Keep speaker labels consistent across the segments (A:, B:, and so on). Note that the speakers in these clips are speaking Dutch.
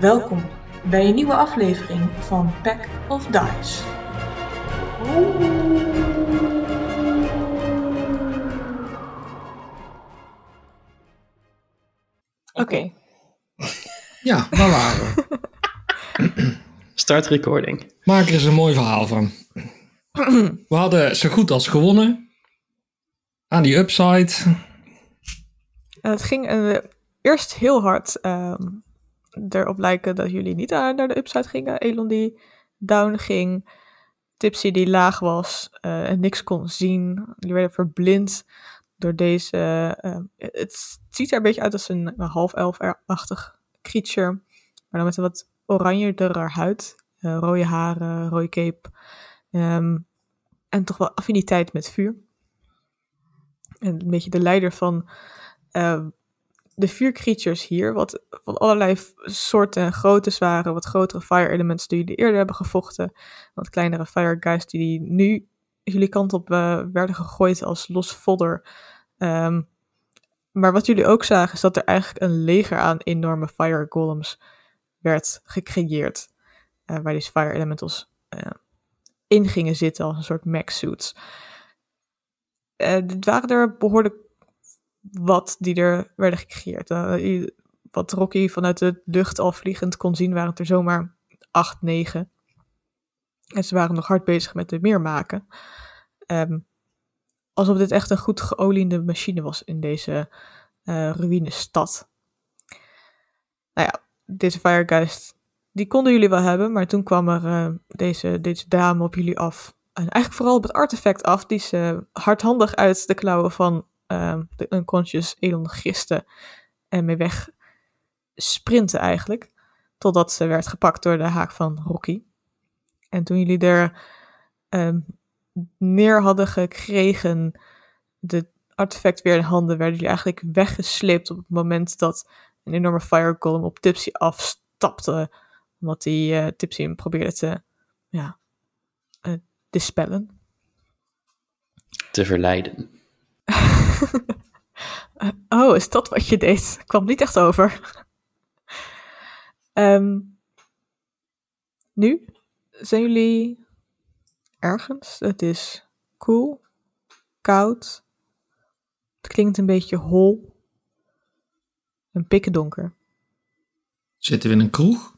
A: Welkom bij een nieuwe aflevering van Pack of Dice. Oké,
B: Ja, daar waren we.
C: Start recording.
B: Maak er eens een mooi verhaal van. We hadden zo goed als gewonnen. Aan die upside.
D: En het ging eh, eerst heel hard ehm, erop lijken dat jullie niet aan- naar de upside gingen. Elon die down ging, Tipsy die laag was eh, en niks kon zien. Jullie werden verblind door deze... ehm, het ziet er een beetje uit als een half-elf-achtig creature. Maar dan met een wat oranjerdere huid, eh, rode haren, rode cape. ehm, en toch wel affiniteit met vuur. En een beetje de leider van ehm, de vier creatures hier, wat van allerlei f- soorten en groottes waren, wat grotere fire elements die jullie eerder hebben gevochten, wat kleinere fire guys die nu jullie kant op eh, werden gegooid als los vodder. Ehm, maar wat jullie ook zagen is dat er eigenlijk een leger aan enorme fire golems werd gecreëerd, eh, waar deze fire elementals eh, in gingen zitten als een soort mech suits. Eh, dit waren er behoorlijk wat die er werden gecreëerd. Eh, i- wat Rocky vanuit de lucht al vliegend kon zien, waren het er zomaar acht, negen. En ze waren nog hard bezig met er meer maken. Ehm, alsof dit echt een goed geoliede machine was in deze eh ruïnestad. Nou ja, deze Firegeist, die konden jullie wel hebben, maar toen kwam er eh, deze, deze dame op jullie af. En eigenlijk vooral op het artefact af, die ze hardhandig uit de klauwen van ehm, de unconscious Elon giste en mee weg sprinten eigenlijk. Totdat ze werd gepakt door de haak van Rocky. En toen jullie er ehm, neer hadden gekregen, de artefact weer in handen, werden jullie eigenlijk weggesleept op het moment dat een enorme fire golem op Tipsy afstapte. Omdat die eh, Tipsy hem probeerde te ja, eh, dispellen.
C: Te verleiden.
D: Oh, is dat wat je deed? Kwam niet echt over. Ehm, nu zijn jullie ergens. Het is koel, koud. Het klinkt een beetje hol. En pikdonker.
B: Zitten we in een kroeg?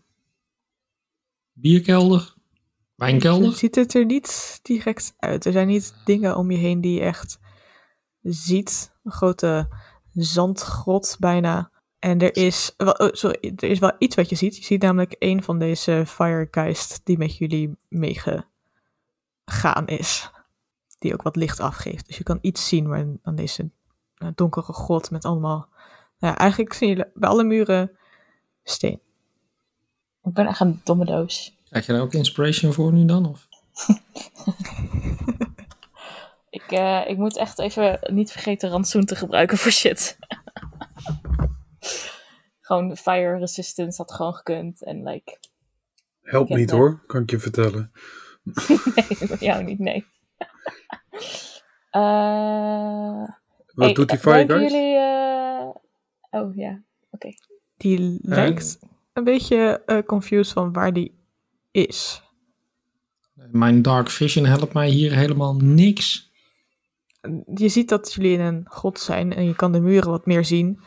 B: Bierkelder?
D: Dan
B: Wijnkelder?
D: ziet het er niet direct uit. Er zijn niet dingen om je heen die je echt ziet. Een grote zandgrot bijna. En er is, wel- oh, sorry, er is wel iets wat je ziet. Je ziet namelijk een van deze firegeist die met jullie meegegaan is. Die ook wat licht afgeeft. Dus je kan iets zien maar aan deze eh, donkere grot met allemaal... Nou, ja, eigenlijk zien jullie bij alle muren steen.
E: Ik ben echt een domme doos.
B: Krijg je daar ook inspiration voor nu dan? Of?
E: Ik, eh, ik moet echt even niet vergeten rantsoen te gebruiken voor shit. gewoon fire resistance had gewoon gekund. En like,
F: Help
E: Ja,
F: niet
E: dat-
F: hoor, kan ik je vertellen.
E: nee, met jou niet, nee. Eh,
F: Wat
E: hey,
F: doet die
E: eh, blijven
F: Fireguys?
E: jullie... eh, Oh ja,
D: Die lijkt een beetje eh, confused van waar die is.
B: Mijn dark vision helpt mij hier helemaal niks.
D: Je ziet dat jullie in een grot zijn en je kan de muren wat meer zien.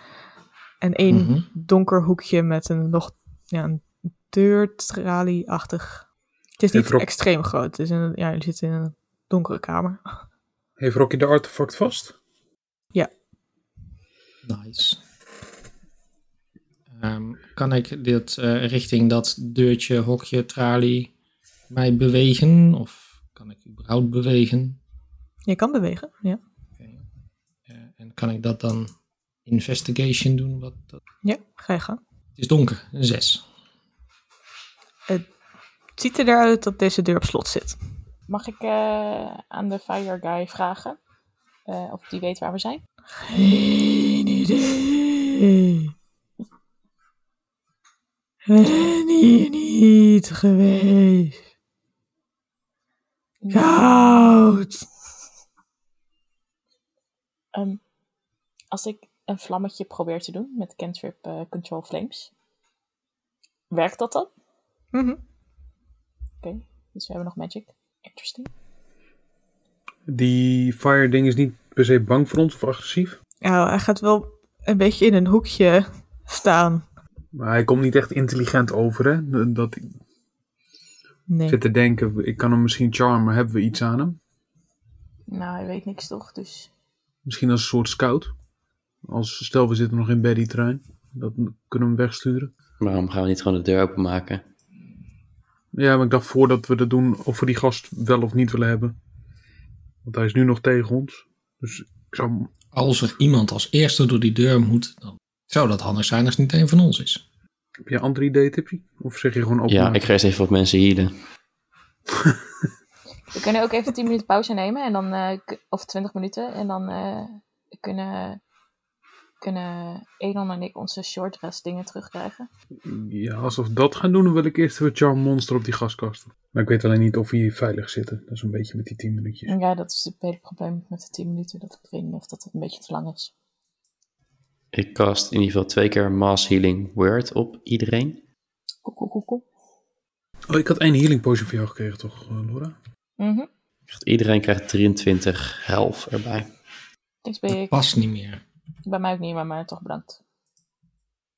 D: En één
B: Mhm.
D: donker hoekje met een nog ja, een deurtralie-achtig. Het is
F: Heeft
D: niet
F: Rob-
D: extreem groot. Het is een, ja, je zit in een donkere kamer.
F: Heeft Rocky de artefact vast?
B: Mhm. Nice. Ehm, kan ik dit eh, richting dat deurtje, hokje, tralie mij bewegen? Of kan ik überhaupt bewegen?
D: Je kan bewegen, ja.
B: Eh, en kan ik dat dan investigation doen? Wat, dat-
D: Ja, ga je gang.
B: Het is donker, een zes.
D: Het ziet er eruit dat deze deur op slot zit.
E: mag ik eh, aan de fire guy vragen? eh, of die weet waar we zijn?
D: Geen idee. We zijn hier niet geweest. Koud.
E: Ehm, als ik een vlammetje probeer te doen met cantrip eh, Control Flames, Werkt dat dan?
D: Mhm.
E: Oké, dus we hebben nog magic. Interesting.
F: Die fire ding is niet per se bang voor ons of agressief.
D: Ja, hij gaat wel een beetje in een hoekje staan.
F: Maar hij komt niet echt intelligent over, hè? Dat ik
D: Nee.
F: zit te denken, ik kan hem misschien charmen, hebben we iets aan hem?
E: Nou, hij weet niks toch, dus...
F: Misschien als een soort scout. Als, stel, we zitten nog in Baddy trein. Dat kunnen we hem wegsturen.
C: Waarom gaan we niet gewoon de deur openmaken?
F: Ja, maar ik dacht voordat we dat doen, of we die gast wel of niet willen hebben. Want hij is nu nog tegen ons. Dus ik zou hem
B: Als er iemand als eerste door die deur moet, dan zou dat handig zijn als het niet een van ons is.
F: Heb je een ander idee, Tipje? Of zeg je gewoon open?
C: Ja, ik ga eerst even wat mensen healen.
E: We kunnen ook even 10 minuten pauze nemen, en dan, eh, k- of 20 minuten, en dan eh, kunnen, kunnen Elon en ik onze short rest dingen terugkrijgen.
F: Ja, als we dat gaan doen, dan wil ik eerst weer Charm Monster op die gaskast. Maar ik weet alleen niet of we hier veilig zitten. Dat is een beetje met die 10 minuutjes.
E: Ja, dat is het hele probleem met de 10 minuten. Dat ik weet niet of dat een beetje te lang is.
C: Ik cast in ieder geval twee keer Mass Healing Word op iedereen.
E: Koek, koek, koek, koek.
F: Oh, ik had één healing potion voor jou gekregen, toch, eh, Laura?
E: Mhm.
C: Echt, Iedereen krijgt 23 health erbij.
E: Niks bij,
B: Dat past niet meer.
E: bij mij ook niet, maar, maar toch bedankt.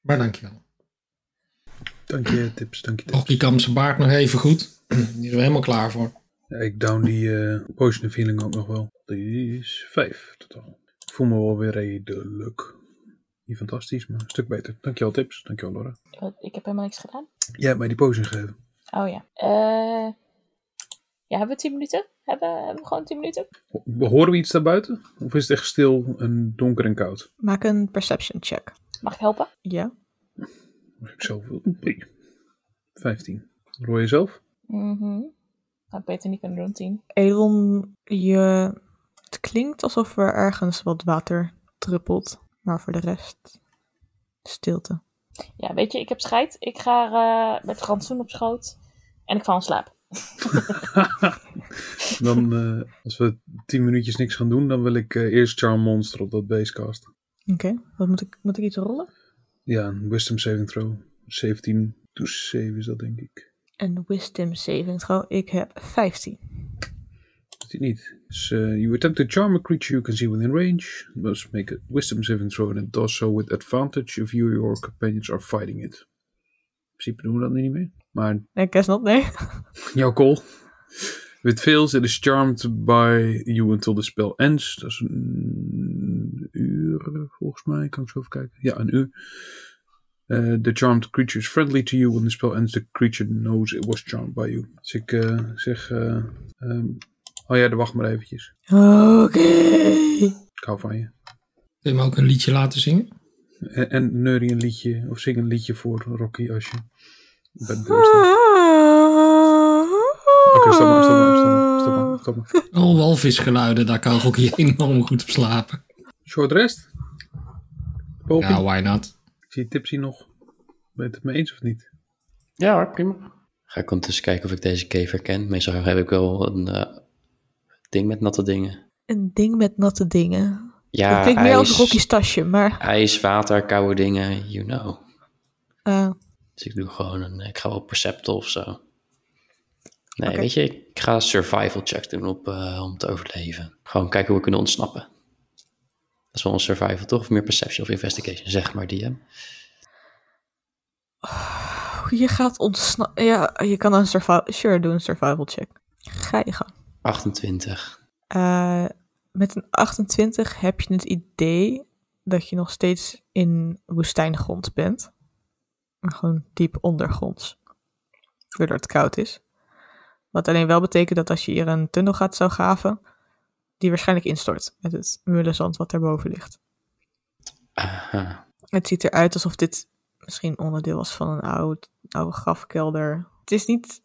B: Maar dankjewel.
F: Dank je, tips. Dank je, tips.
B: Rocky kam zijn baard nog even goed. Die zijn we helemaal klaar voor.
F: Ja, ik down die eh, potion of healing ook nog wel. Die is 5 totaal. Ik voel me wel weer redelijk. Niet fantastisch, maar een stuk beter. Dankjewel, tips. Dankjewel, Laura.
E: Wat- Eh, Ik heb helemaal niks gedaan.
F: Jij hebt mij die potion gegeven.
E: Oh ja. Eh, ja, hebben we 10 minuten? Hebben, hebben we gewoon 10 minuten?
F: Ho- Horen we iets daarbuiten? Of is het echt stil en donker en koud?
D: Maak een perception check.
E: Mag ik helpen?
D: Ja.
F: Mag ik zelf wel? 15. Roy jezelf?
E: Mhm. Had ik beter niet kunnen doen, 10.
D: Elon, je... het klinkt alsof er ergens wat water druppelt. Maar voor de rest, stilte.
E: Ja, weet je, ik heb scheid. Ik ga eh, met rantsoen op schoot. En ik val in slaap.
F: Dan, eh, als we tien minuutjes niks gaan doen, dan wil ik eh, eerst Charm Monster op dat base casten.
D: Oké, wat moet ik, moet ik iets rollen?
F: Ja, een Wisdom Saving Throw. 17 to save is dat, denk ik.
D: Een wisdom saving throw. Ik heb 15.
F: Is die niet? Dus, eh, you attempt to charm a creature you can see within range. Must make a Wisdom Saving Throw and it does so with advantage if you or your companions are fighting it. In principe doen we dat nu niet meer. Maar
D: Nee, guess not, nee.
F: Jouw call. With fails, it is charmed by you until the spell ends. Dat is een uur, volgens mij. Kan ik zo even kijken? Ja, een uur. Eh, the charmed creature is friendly to you. When the spell ends, the creature knows it was charmed by you. Dus ik eh, zeg... eh, ehm, oh ja, dan wacht maar eventjes.
D: Oké.
F: Ik hou van je.
B: Kun je hem ook een liedje laten zingen?
F: En, en neurie een liedje. Of zing een liedje voor Rocky als je... bij de deur staat. Oké,
D: Oké,
F: stop maar, stop maar, stop maar, stop maar, stop maar.
B: Al Oh, walvisgeluiden, daar kan Rocky enorm goed op slapen.
F: Short rest? Poging?
B: Ja, why not?
F: Ik zie Tipsy nog. Ben je het mee eens of niet?
C: Ja hoor, prima. Ga ik ondertussen kijken of ik deze kever ken. Meestal heb ik wel een eh, ding met natte dingen.
D: Een ding met natte dingen.
C: Ja,
D: dat klinkt meer als
C: ijs-
D: Rocky's tasje, maar...
C: ijs, water, koude dingen, you know.
D: eh,
C: Dus ik doe gewoon een, ik ga wel percepten of zo. Nee,
D: Oké.
C: weet je, ik ga survival check doen op, eh, om te overleven. Gewoon kijken hoe we kunnen ontsnappen. Dat is wel een survival toch? Of meer perception of investigation, zeg maar die. hè?
D: je gaat ontsnappen. Ja, je kan een survival... Sure, doe een survival check. Ga je gang.
C: 28.
D: Eh, met een 28 heb je het idee dat je nog steeds in woestijngrond bent. Maar gewoon diep ondergronds. Doordat het koud is. Wat alleen wel betekent dat als je hier een tunnel gaat zou graven, die waarschijnlijk instort met het mullenzand wat daarboven ligt.
C: Aha.
D: Het ziet eruit alsof dit misschien onderdeel was van een oud, oude grafkelder. Het is niet.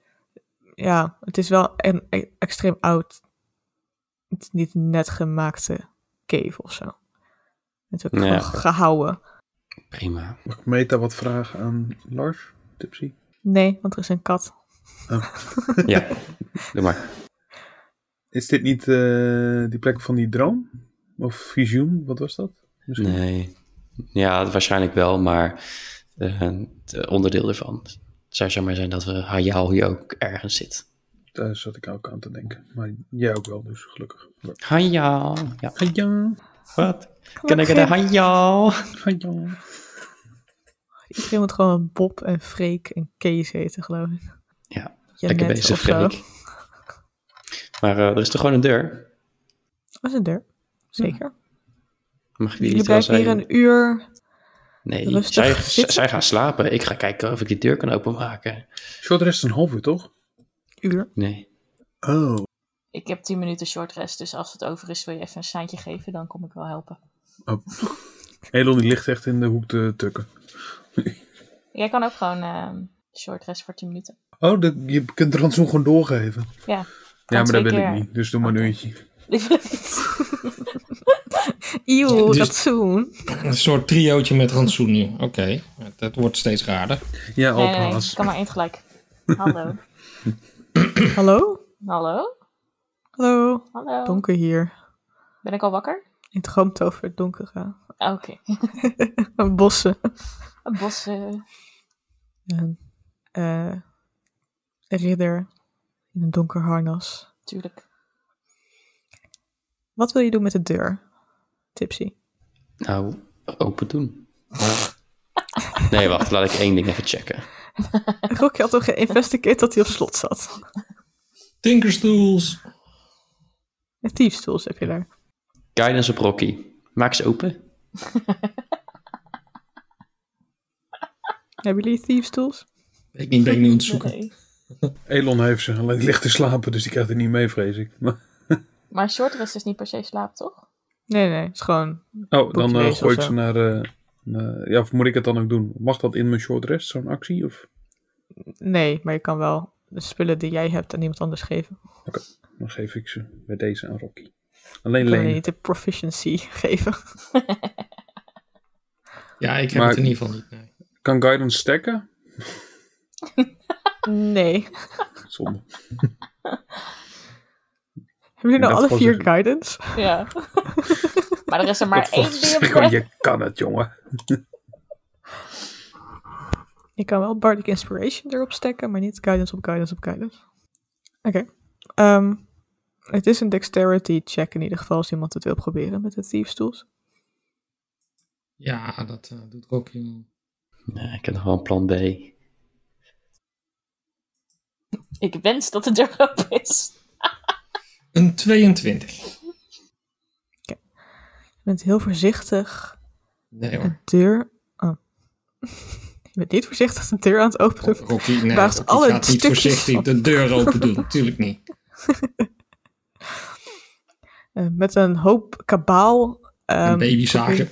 D: Ja, het is wel een, e- extreem oud. Het is niet een net gemaakte cave of zo. Het is ook
C: Ja.
D: gewoon gehouden.
C: Prima.
F: Mag ik Meta wat vragen aan Lars? Tipsy?
D: Nee, want er is een kat.
C: Ja, doe maar.
F: Is dit niet eh, die plek van die droom? Of visioen? Wat was dat? Misschien.
C: Nee. Ja, waarschijnlijk wel, maar eh, het onderdeel ervan. Het zou zomaar zijn dat we Hayao hier ook ergens zit.
F: Daar zat ik ook aan te denken. Maar jij ook wel, dus gelukkig.
C: Hayao. Ja,
F: Hayao,
C: wat?
D: Kom
C: Kan
D: op,
C: ik
D: Grim.
C: de Hayao?
F: Hayao.
D: Iedereen moet gewoon Bob en Freek en Kees heten, geloof ik.
C: Ja,
D: Janet
C: lekker
D: of
C: bezig,
D: zo.
C: Freek. Maar eh, er is toch gewoon een deur?
D: Dat is een deur. Zeker.
C: Mag ik die
D: Jullie
C: niet wel
D: blijven hier
C: zijn?
D: een uur.
C: Nee,
D: rustig
C: zij,
D: zitten?
C: zij gaan slapen. Ik ga kijken of ik die deur kan openmaken.
F: Short rest een half uur, toch?
D: Uur.
C: Nee.
F: Oh.
E: Ik heb 10 minuten short rest, dus als het over is, wil je even een seintje geven, dan kom ik wel helpen.
F: oh. Elon die ligt echt in de hoek te tukken.
E: Jij kan ook gewoon ehm, short rest voor 10 minuten.
F: Oh, dat- je kunt er dan zo gewoon doorgeven.
E: Ja.
F: Ja, maar
E: twee
F: dat wil
E: keer.
F: ik niet. Dus doe maar een uurtje.
D: Eeuw,
B: Dus-
D: ratsoen.
B: Een soort triootje met rantsoen nu. Oké, dat wordt steeds raarder.
F: Ja,
E: nee, nee, nee,
F: alpaas.
E: kan maar één tegelijk. Hallo.
D: Hallo?
E: Hallo?
D: Hallo.
E: Hallo?
D: Donker hier.
E: Ben ik al wakker?
D: Ik droomt over het donkere.
E: Oké.
D: Bossen.
E: Een bos. eh,
D: En, eh, een ridder in een donker harnas.
E: tuurlijk.
D: Wat wil je doen met de deur? Tipsy.
C: Nou, open doen. nee, wacht. Laat ik één ding even checken.
D: Rocky had toch geïnvestigeerd dat hij op slot zat.
B: Tinkerstools.
D: En thieves tools heb je daar.
C: Guidance op Rocky. Maak ze open.
D: Hebben jullie thieves tools?
B: Ik niet, ben ik nu aan het zoeken.
E: Nee.
F: Elon heeft ze. Alleen die ligt te slapen, dus die krijgt er niet mee, vrees ik. Maar-
E: Maar short rest is niet per se slaap, toch?
D: Nee, nee. Het is gewoon...
F: Oh, dan eh,
D: lezen of
F: gooi ik
D: zo.
F: ze naar... eh, naar- ja, of moet ik het dan ook doen? Mag dat in mijn short rest, zo'n actie? Of?
D: Nee, maar je kan wel de spullen die jij hebt aan iemand anders geven.
F: Dan geef ik ze bij deze aan Rocky. Alleen
D: Je kan je
F: lenen.
D: niet de proficiency geven.
B: Ja, ik heb
F: Maar-
B: het in ieder geval niet. Nee.
F: Kan Guidance stacken?
D: Nee.
F: Zonde.
D: Hebben jullie nou
F: Dat
D: alle
F: was
D: vier
F: het.
D: guidance?
E: Ja. maar er is er maar
F: Dat
E: één
F: vond- zeg maar,
E: ding.
F: je kan het, jongen.
D: Je kan wel Bardic Inspiration erop stekken, maar niet guidance op guidance op guidance. Oké. Ehm, het is een dexterity check in ieder geval als iemand het wil proberen met de thieves tools.
B: Ja, dat eh, doet Rocky wel.
C: Nee, ik heb nog wel een plan B.
E: Ik wens dat de deur open is.
B: Een 22.
D: Je bent heel voorzichtig
B: Nee
D: de
B: hoor.
D: deur... Oh. je bent niet voorzichtig de deur aan het openen.
B: Rocky, nee,
D: Waar is
B: Rocky
D: alle
B: gaat niet
D: stukjes
B: voorzichtig
D: van?
B: de deur open doen. Tuurlijk niet.
D: Eh, met een hoop kabaal. ehm,
B: een babyzager.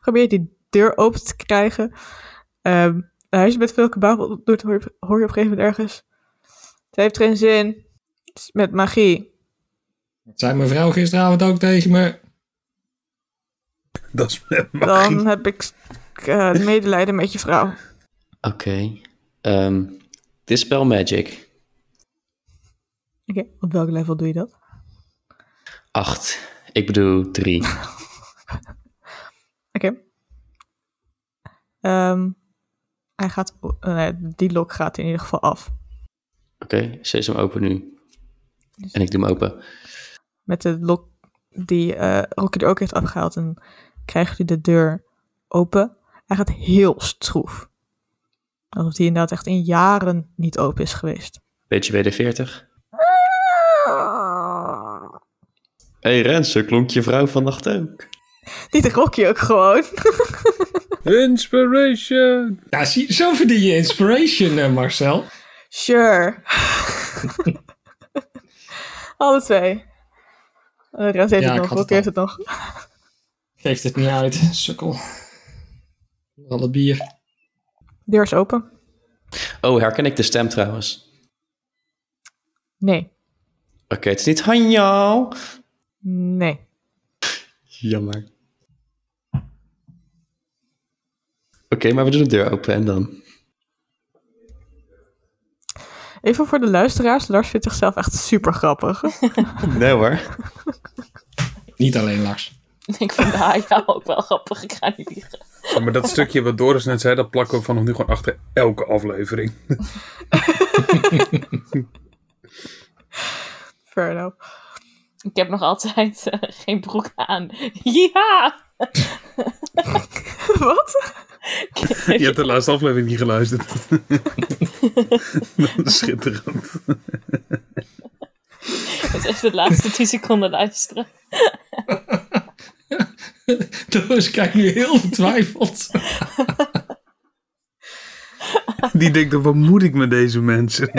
D: probeer je die deur open te krijgen. Ehm, nou, als je met veel kabaal doet, hoor je, hoor je op een gegeven moment ergens. Het heeft geen zin. Het is met magie.
B: Dat zei mijn vrouw gisteravond ook tegen me.
F: Dat is met magie.
D: Dan heb ik eh, medelijden met je vrouw.
C: Oké. Ehm dispel Magic.
D: Oké, op welk level doe je dat?
C: 8. Ik bedoel 3.
D: Oké. Ehm, hij gaat, eh, nee, die lok gaat in ieder geval af.
C: Oké, ze is hem open nu.
D: Dus-
C: En ik doe hem open.
D: Met de lok die eh Rocky er ook heeft afgehaald. En krijgt hij de deur open. Hij gaat heel stroef. Alsof die inderdaad echt in jaren niet open is geweest.
C: Beetje bij de 40.
D: Ah.
C: hey Rensen, klonk je vrouw vannacht ook?
D: Niet Rocky ook gewoon.
F: Inspiration!
B: Ja, zie, zo verdien je inspiration, eh, Marcel.
D: Sure. Alle twee. Eh, Rens heeft
B: Ja,
D: het nog.
B: ik had het
D: Rocky
B: al.
D: heeft het nog.
B: Geeft het niet uit, sukkel. Al het bier.
D: Deur is open.
C: Oh, herken ik de stem trouwens.
D: Nee.
C: Oké, het is niet Hanjo.
D: Nee.
C: Jammer. Oké, maar we doen de deur open en dan.
D: Even voor de luisteraars. Lars vindt zichzelf echt super grappig.
C: Nee hoor.
B: Niet alleen Lars.
E: Ik vond de haai nou ook wel grappig. Ik ga niet liegen.
F: Ja, Oh, maar dat stukje wat Doris net zei, dat plakken we vanaf nu gewoon achter elke aflevering.
D: Fair enough.
E: Ik heb nog altijd eh, geen broek aan. Ja!
D: Wat?
F: Je hebt de laatste aflevering niet geluisterd. Dat is Schitterend.
E: Het is echt de laatste 10 seconden luisteren.
B: Doris kijkt nu heel vertwijfeld.
F: Die denkt dan, wat moet ik met deze mensen?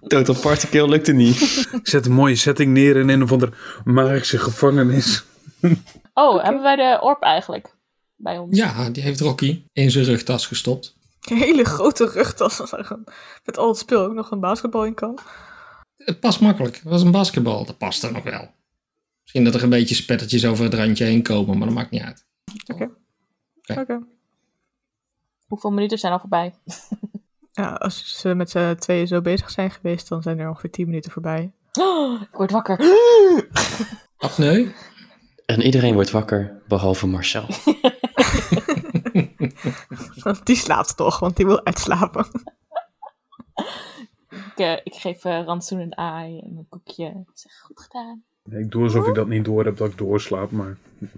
C: Total Party Kill lukte niet.
F: Ik zet een mooie setting neer in een of andere magische gevangenis.
E: Oh, hebben wij de orp eigenlijk bij ons?
B: Ja, die heeft Rocky in zijn rugtas gestopt.
D: Een hele grote rugtas. als er een- Met al het spul ook nog een basketbal in kan.
B: Het past makkelijk. Het was een basketbal. Dat past er nog wel. Misschien dat er een beetje spettertjes over het randje heen komen, maar dat maakt niet uit.
D: Oké.
E: Hoeveel minuten zijn al voorbij?
D: Ja, als ze met z'n tweeën zo bezig zijn geweest, dan zijn er ongeveer 10 minuten voorbij.
E: Oh, ik word wakker.
B: Apneu?
C: En iedereen wordt wakker, behalve Marcel.
D: Want Die slaapt toch, want die wil uitslapen.
E: Ik, eh, ik geef eh, rantsoen een aai en een koekje. Zeg, goed gedaan.
F: Nee, ik doe alsof ik dat niet door heb, dat ik doorslaap, maar ik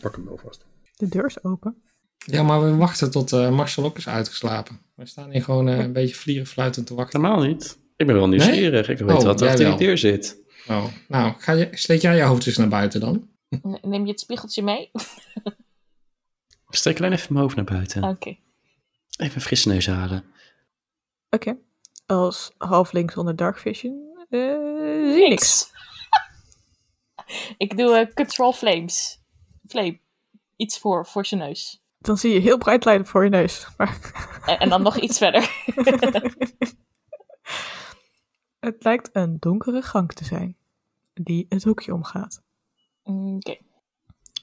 F: pak hem wel vast.
D: De deur is open.
B: Ja, maar we wachten tot eh, Marcel ook is uitgeslapen. We staan hier gewoon eh, een beetje vlieren fluitend te wachten.
C: Normaal niet. Ik ben wel nieuwsgierig. Ik weet
B: Oh,
C: wat
B: jij
C: achter die
B: wel.
C: deur zit.
B: Oh, nou, ga je, sleet jij je hoofd eens naar buiten dan?
E: Ne- Neem je het spiegeltje mee?
C: Ik steek alleen even mijn hoofd naar buiten.
E: Oké.
C: Oh. Even een frisse neus halen.
D: Oké. Als halfling zonder dark vision. eh, zie je niks.
E: ik doe eh, control flames. Flame. Iets voor, voor zijn neus.
D: Dan zie je heel bright light voor je neus. Maar
E: En, en dan nog iets verder.
D: het lijkt een donkere gang te zijn. Die het hoekje omgaat.
E: Mm, Oké.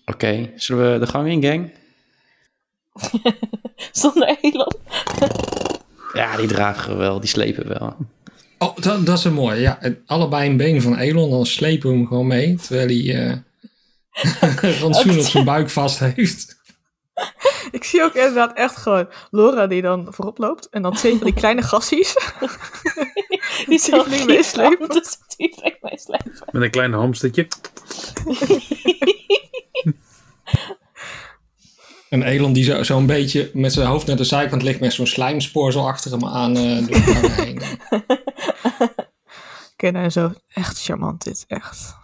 C: Oké, zullen we de gang in, gang?
E: Zonder elan.
C: Ja, die dragen we wel. Die slepen we wel.
B: Oh, dat, dat is een mooie. Ja, en allebei een been van Elon, dan slepen we hem gewoon mee. Terwijl hij eh rantsoen op zijn buik vast heeft.
D: Ik zie ook inderdaad echt gewoon Laura die dan voorop loopt. En dan twee van die kleine gassies.
E: Die zal
D: Tiefling meeslepen.
E: gigantisch tiefling meeslepen.
F: Met een klein hamstertje.
B: En Elon die zo- zo'n beetje met zijn hoofd naar de zijkant ligt met zo'n slijmspoor zo achter hem aan eh, door de gang heen.
D: Kennen en zo. Echt charmant dit, echt.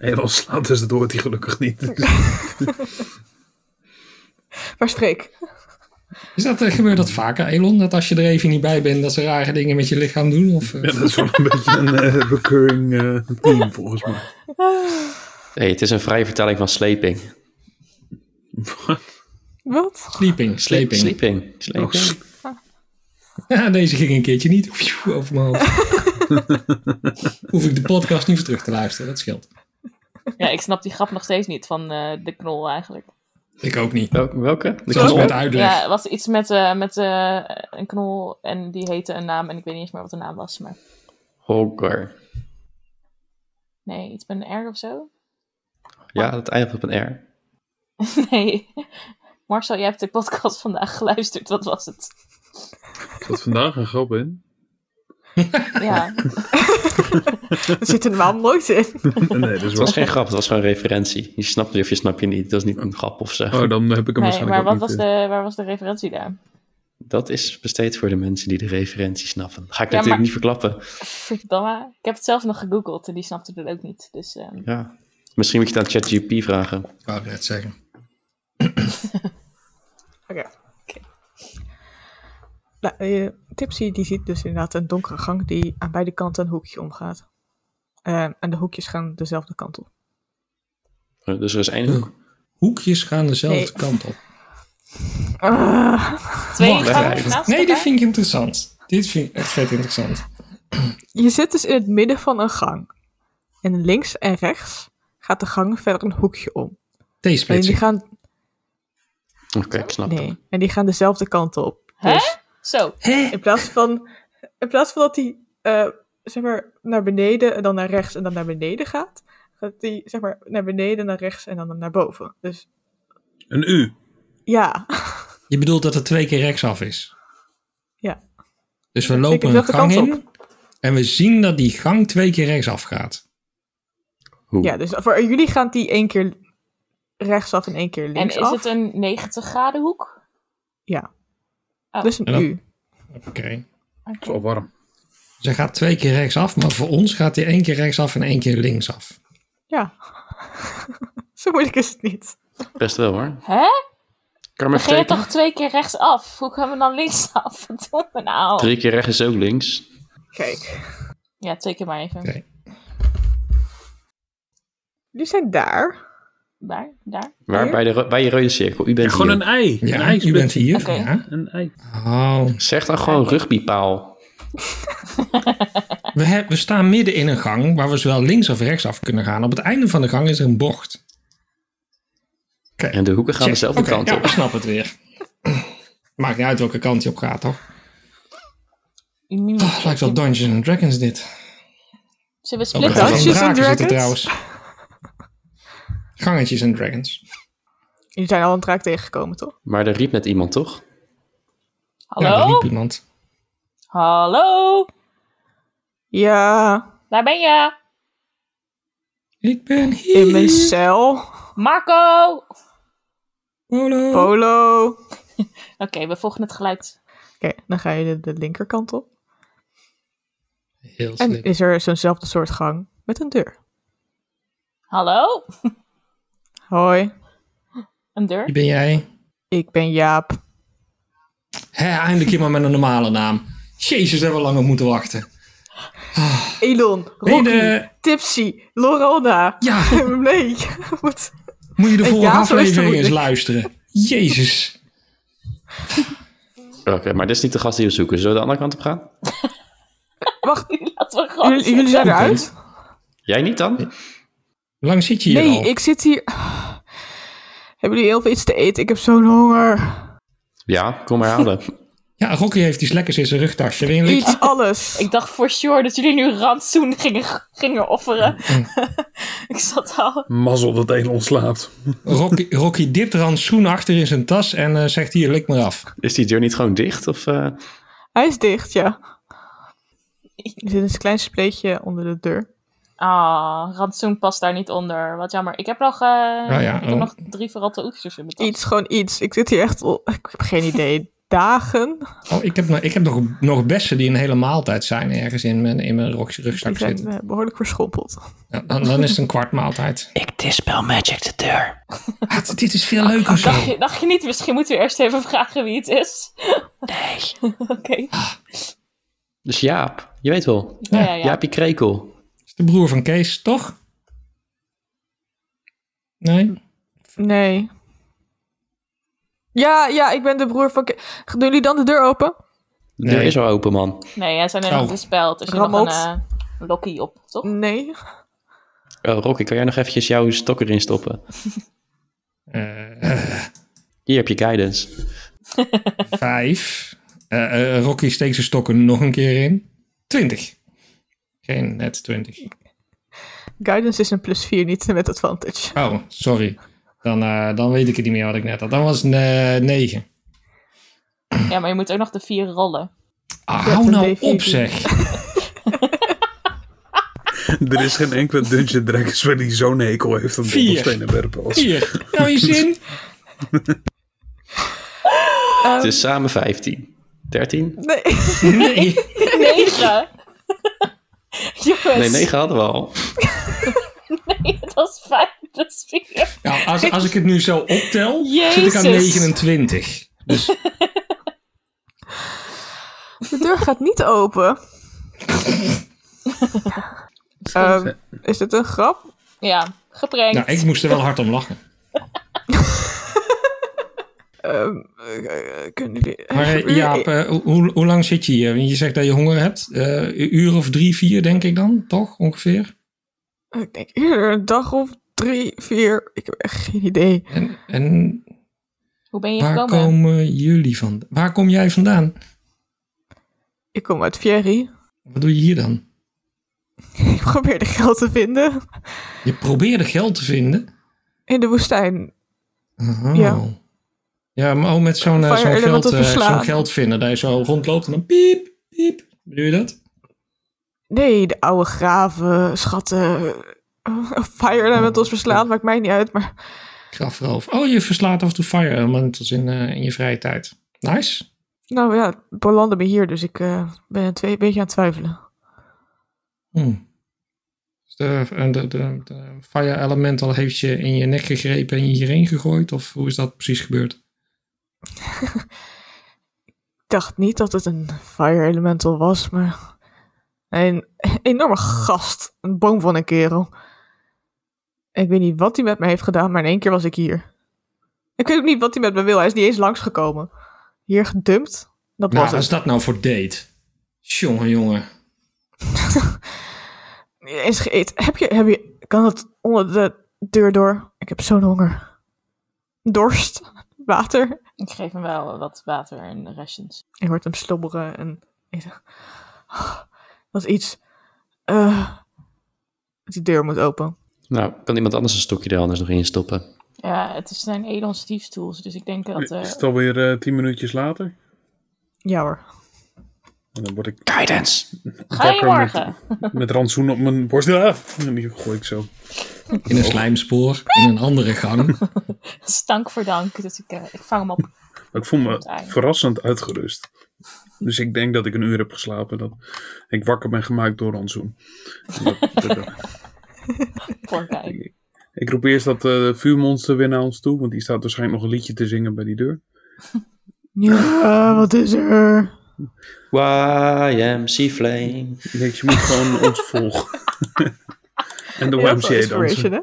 F: Elon slaat dus door, die gelukkig niet.
D: Maar spreek.
B: Is dat, eh, gebeurt dat vaker, Elon? Dat als je er even niet bij bent, dat ze rare dingen met je lichaam doen? Of, eh?
F: Ja, dat is dus wel een beetje een eh, recurring eh, theme volgens mij.
C: hey, het is een vrije vertaling van sleping.
D: Wat?
B: Sleeping, sleping.
C: Sleeping.
F: Oh,
C: Sleeping.
F: s-
B: Ja, deze ging een keertje niet Pjoe, over mijn hoofd. Hoef ik de podcast niet voor terug te luisteren, dat scheelt.
E: Ja, ik snap die grap nog steeds niet van eh, de knol eigenlijk.
B: Ik ook niet.
C: Wel- welke? De
B: Zoals
C: knol?
B: met uitleg.
E: Ja, het was iets met, eh, met eh, een knol en die heette een naam en ik weet niet eens meer wat de naam was. Maar
C: Hogger.
E: nee, iets met een R of zo?
C: Ja, dat eindigt op een R.
E: Nee. Marcel, jij hebt de podcast vandaag geluisterd. Wat was het?
F: Er zat vandaag een grap in.
E: Ja,
D: Dat zit er normaal nooit in.
F: Nee, dat
C: Het
F: is wel...
C: was geen grap, het was gewoon een referentie. Je snapt het of je snapt je niet. Dat is niet een grap of zo.
F: Oh, dan heb ik hem
E: nee, maar
F: waarschijnlijk ook
E: wat
F: niet. eh.
E: was de, waar was de referentie daar?
C: Dat is besteed voor de mensen die de referentie snappen. Ga ik
E: Ja,
C: natuurlijk
E: maar-
C: niet verklappen.
E: Verdomme. Ik heb het zelf nog gegoogeld en die snapte het ook niet. Dus ehm,
C: Ja. Misschien moet je het aan ChatGPT vragen.
B: Ik wou het net zeggen.
D: Oké. Nou, eh, Tipsy die ziet dus inderdaad een donkere gang die aan beide kanten een hoekje omgaat. Eh, en de hoekjes gaan dezelfde kant op.
C: Eh, Dus er is één hoek.
B: Hoekjes gaan dezelfde
D: Nee.
B: kant op.
D: Ah,
E: twee
B: Wacht
E: gangen
B: even.
E: naast
B: Nee, dit
E: elkaar?
B: vind ik interessant. Dit vind ik echt vet interessant.
D: je zit dus in het midden van een gang. En links en rechts gaat de gang verder een hoekje om. En die
B: T-splitsing.
D: gaan,
C: Oké, ik snap het.
D: nee, en die gaan dezelfde kant op.
E: Hè?
D: Dus
E: Zo,
D: in plaats van, in plaats van dat die eh, zeg maar, naar beneden en dan naar rechts en dan naar beneden gaat, Gaat die zeg maar naar beneden, naar rechts en dan naar boven. Dus
F: Een U.
D: ja,
B: Je bedoelt dat het twee keer rechtsaf is?
D: Ja.
B: Dus we
D: Ja,
B: lopen
D: zeker
B: een
D: dezelfde
B: gang
D: kant
B: in en we zien dat die gang twee keer rechtsaf gaat.
C: Hoe?
D: ja, dus voor jullie gaat die één keer rechtsaf en één keer
E: En
D: linksaf.
E: is het een 90 graden hoek? een-
D: Dus een
B: En dat-
D: U.
B: Oké.
F: Het is al warm.
B: Dus hij gaat twee keer rechtsaf, maar voor ons gaat hij één keer rechtsaf en één keer linksaf.
D: Ja. Zo moeilijk is het niet.
C: Best wel hoor.
E: Hè?
C: Kan maar
E: Dan ging je
C: vertekenen.
E: toch twee keer rechtsaf? Hoe gaan we dan linksaf? Verdomme nou.
C: Drie keer rechts is ook links.
D: Kijk,
E: Ja, twee keer maar even.
B: Oké.
D: jullie zijn daar.
E: Daar, daar.
C: Waar
D: Hier?
C: bij, de, ro- bij je rode cirkel. U bent
F: Gewoon
C: hier.
F: een ei. een
B: Ja,
F: ei
B: u bent hier.
E: Oké.
B: Ja.
F: Een ei.
B: Oh.
C: Zeg dan gewoon rugbypaal.
B: We, heb- we staan midden in een gang waar we zowel links of rechtsaf kunnen gaan. Op het einde van de gang is er een bocht.
C: En de hoeken gaan
B: Check.
C: dezelfde
B: Oké,
C: kant
B: ja,
C: op.
B: ik snap het weer. Maakt niet uit welke kant je op gaat, toch?
E: Niemand
B: Oh, lijkt wel Dungeons and Dragons dit.
E: Zullen we
B: Oh, maar
E: splitten?
B: er
D: Dungeons
B: zitten
D: and
B: draken zitten
D: Dragons?
B: trouwens. Gangetjes en dragons.
D: Jullie zijn al een draak tegengekomen, toch?
C: Maar er riep net iemand, toch?
B: Ja, daar
E: Hallo?
B: riep iemand.
E: Hallo?
D: Ja,
E: Daar ben je.
B: Ik ben
D: in mijn
B: hier.
D: cel.
E: Marco! Oké,
B: Polo.
D: Polo. Oké,
E: we volgen het geluid.
D: dan ga je de, de linkerkant op.
B: Heel
D: En
B: slim.
D: is er zo'nzelfde soort gang met een deur.
E: Hallo?
D: Hoi,
E: Een
B: Wie
E: deur?
B: ben jij?
D: ik ben Jaap.
B: Hé, eindelijk iemand met een normale naam. Jezus, hebben we langer moeten wachten.
D: Elon,
B: Hey,
D: Rocky,
B: de-
D: Tipsy, Lorona.
B: Ja,
D: Nee, goed.
B: moet je de vorige
D: Ja, zo is het
B: aflevering eens
D: moeilijk.
B: luisteren. Jezus.
C: Oké, maar dit is niet de gast die we zoeken. Zullen we de andere kant op gaan?
D: Wacht,
E: Laten we gewoon
D: jullie, jullie
E: zitten.
D: zijn eruit?
C: Jij niet dan?
B: Hoe lang zit je hier
D: Nee,
B: al?
D: ik zit hier... Hebben jullie heel veel iets te eten? Ik heb zo'n honger.
C: Ja, kom maar halen.
B: Ja, Rocky heeft iets lekkers in zijn rugtasje. Wil je een likje?
D: Iets, alles.
E: Ik dacht for sure dat jullie nu rantsoen gingen, gingen offeren.
B: Mm.
E: ik zat al...
F: Mazzel dat één ontslaapt.
B: Rocky, Rocky dipt rantsoen achter in zijn tas en eh, zegt hier, lik me af.
C: Is die deur niet gewoon dicht? Of, eh,
D: Hij is dicht, ja. Er zit een klein spleetje onder de deur.
E: Ah, rantsoen past daar niet onder. Wat jammer. Ik heb nog, eh,
B: ja,
E: ik heb
B: oh.
E: nog drie verratte oesters in mijn tas.
D: Iets, gewoon iets. Ik zit hier echt... al- Ik heb geen idee. Dagen.
B: Oh, ik heb, nog- ik heb nog, nog bessen die een hele maaltijd zijn ergens in mijn, in mijn rok- rugzak
D: Die zijn
B: zitten.
D: eh, behoorlijk verschrompeld.
B: Ja, dan, dan is het een kwart maaltijd.
C: Ik dispel magic de deur.
B: Ah, dit is veel
D: Oh,
B: leuker zo.
E: Dacht je, dacht je niet, misschien moeten we eerst even vragen wie het is?
C: Nee.
E: Oké.
C: Dus Jaap, je weet wel.
E: Ja, ja, ja.
C: Jaapie Krekel.
B: Is de broer van Kees, toch? Nee?
D: Nee. Ja, ja, ik ben de broer van... Ke- Doen jullie dan de deur open?
C: De deur
B: Nee.
C: is al open, man.
E: Nee, hij zijn er nog
B: Oh.
E: gespeld. Er zit nog een
D: Rammelt.
E: eh, lokkie op, toch?
D: Nee.
C: Oh, Rocky, kan jij nog eventjes jouw stok erin stoppen?
B: Eh, eh,
C: Hier heb je guidance.
B: vijf. Eh, eh, Rocky steekt zijn stokken nog een keer in. Twintig. Geen net twintig.
D: Guidance is een plus 4, niet met advantage.
B: Oh, sorry. Dan, eh, dan weet ik het niet meer wat ik net had. Dan was het eh, negen.
E: Ja, maar je moet ook nog de vier rollen.
B: Ah,
D: Ja,
B: hou
D: een
B: nou
D: D4.
B: op zeg.
F: er is geen enkele Dungeon Dragons waar die zo'n hekel heeft aan
B: Vier.
F: dobbelstenen werpen. Als...
B: Hier, nou je zin.
C: Het is
E: Ehm,
C: samen 15. 13?
D: Nee.
B: Nee.
E: Negen! Jongens,
C: Nee, 9 hadden we al.
E: dat is vijf, dat is vier.
B: Nou, als, als ik het nu zo optel, zit ik aan
E: Jezus.
B: 29. Dus
D: De deur gaat niet open. Ehm, is dit een grap?
E: Ja, geprankt.
B: nou, ik moest er wel hard om lachen.
D: Ehm, eh, eh, kunnen jullie...
B: Maar eh,
D: Jullie-
B: Jaap, eh, hoe, hoe lang zit je hier? Want je zegt dat je honger hebt. Eh, een uur of drie, vier denk ik dan, toch ongeveer? eh-
D: Ik denk eerder een dag of drie, vier. Ik heb echt geen idee.
B: En, en
E: Hoe ben je
B: waar
E: gekomen?
B: komen jullie vandaan? Waar kom jij vandaan?
D: Ik kom uit Fierry.
B: Wat doe je hier dan?
D: Ik probeerde geld te vinden
B: Je probeerde geld te vinden.
D: in de woestijn.
B: Oh.
D: Ja.
B: Ja, maar ook met zo'n eh,
D: Fire
B: zo'n
D: element
B: geld,
D: te
B: eh,
D: verslaan.
B: zo'n geld vinden. Dat je zo rondloopt en dan piep, piep. Bedoel je dat?
D: Nee, de oude graven, schatten. Fire met ons verslaan, maakt mij niet uit. Maar
B: Grafroof. Oh, je verslaat af en toe fire elementals in, eh, in je vrije tijd. Nice.
D: nou ja, belanden we hier, dus ik eh, ben een twee- beetje aan het twijfelen.
B: Hm. Dus De, en de, de, de fire elemental heeft je in je nek gegrepen en je hierheen gegooid? Of hoe is dat precies gebeurd?
D: Ik dacht niet dat het een fire elemental was, maar een enorme gast. Een boom van een kerel. Ik weet niet wat hij met me heeft gedaan, maar in één keer was ik hier. Ik weet ook niet wat hij met me wil. Hij is niet eens langsgekomen. Hier gedumpt. Dat
B: Nou,
D: was
B: wat is
D: het.
B: dat nou voor date? Jongen, jongen.
D: Niet eens gegeten. Heb je, heb je, kan het onder de deur door? Ik heb zo'n honger. Dorst. Water.
E: Ik geef hem wel wat water en rations.
D: Ik hoort hem slobberen en ik zeg... "Ah, dat iets... eh, die deur moet open.
C: Nou, kan iemand anders een stokje er anders nog in stoppen?
E: Ja, het zijn Elon's stiefstoels, dus ik denk dat... eh,
F: Is het alweer eh, tien minuutjes later?
D: Ja hoor.
F: En dan word ik
C: Guidance!
E: Ga je
F: wakker met-
E: morgen?
F: Met rantsoen op mijn borst. Ah, en die gooi ik zo.
B: In een slijmspoor, in een andere gang.
E: Stank voor eh, dank, dus ik, eh, ik vang hem op.
F: Maar ik voel me
E: Eind.
F: verrassend uitgerust. Dus ik denk dat ik een uur heb geslapen. Dat ik wakker ben gemaakt door rantsoen. Dat- dat- dat-
E: Voor kijken.
F: ik roep eerst dat eh, vuurmonster weer naar ons toe. Want die staat waarschijnlijk nog een liedje te zingen bij die deur.
D: Ja, eh, wat is er?
C: YMC Flame.
F: Nee, je moet gewoon ons volgen. en de YMCA dansen.
D: hè?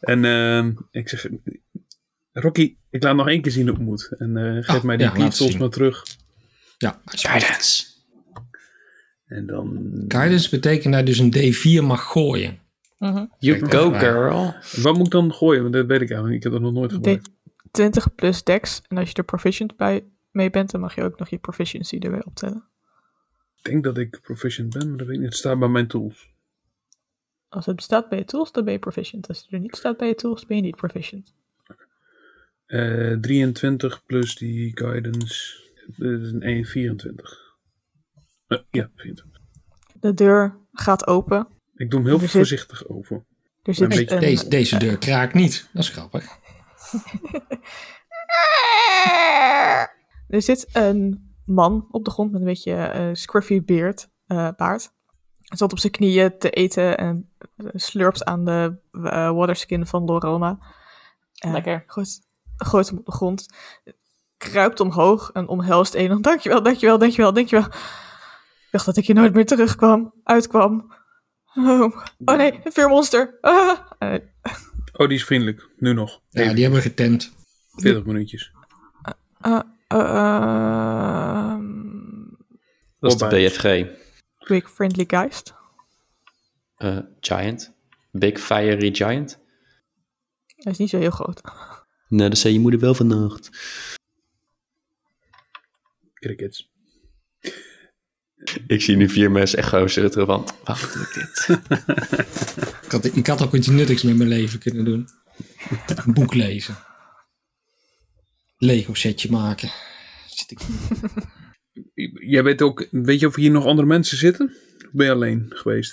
F: En ehm, ik zeg, Rocky, ik laat nog één keer zien hoe het moet. En eh, geef
B: Ah,
F: mij die
B: ja, laat
F: pistols
B: zien.
F: maar terug.
B: Ja.
C: Guidance!
F: En dan...
B: Guidance betekent dat je dus een D4 mag gooien.
E: Mhm.
C: You
B: Kijk,
C: go,
B: dat is
C: girl!
F: Wat moet ik dan gooien? Want Dat weet ik eigenlijk niet. Ik heb dat nog nooit gebruikt.
D: D20 plus dex. En als je er proficient bij mee bent, dan mag je ook nog je proficiency erbij optellen.
F: Ik denk dat ik proficient ben, maar dat weet ik niet. Het staat bij mijn tools.
D: Als het staat bij je tools, dan ben je proficient. Als het er niet staat bij je tools, ben je niet proficient.
F: Eh, 23 plus die guidance. Dat is een 1, 24. Eh, ja, 24.
D: De deur gaat open.
F: Ik doe hem heel
D: Er zit-
F: voorzichtig over.
D: Er
F: Een
D: zit
F: beetje
D: een...
B: Deze, deze deur kraakt niet. Dat is grappig.
D: Er zit een man op de grond met een beetje eh, scruffy beard, eh, baard. Hij zat op zijn knieën te eten en eh, slurpt aan de eh, waterskin van Lorona. Eh,
E: Lekker.
D: Gooit, gooit hem op de grond, kruipt omhoog en omhelst een. en Dankjewel, dankjewel, dankjewel, dankjewel. Ik dacht dat ik hier nooit meer terugkwam, uitkwam. Oh, oh nee, een veermonster. Ah. Eh,
F: Oh, die is vriendelijk. Nu nog.
B: Ja,
F: Even
B: die hebben getemd.
F: 40 minuutjes.
D: eh, ehm,
C: Dat is de
F: Voorbij.
C: BFG.
D: big friendly geist.
C: Eh, giant. Big Fiery Giant.
D: Hij is niet zo heel groot.
C: Nou, dat zei je moeder wel vannacht.
F: Crickets.
C: Ik zie nu vier mensen echt gewoon zuchteren van... Wacht, doe ik dit?
B: Ik had, ik had ook iets nuttigs met mijn leven kunnen doen. Een boek lezen. Lego setje maken. Zit ik
F: Jij weet ook, weet je of hier nog andere mensen zitten? Of ben je alleen geweest?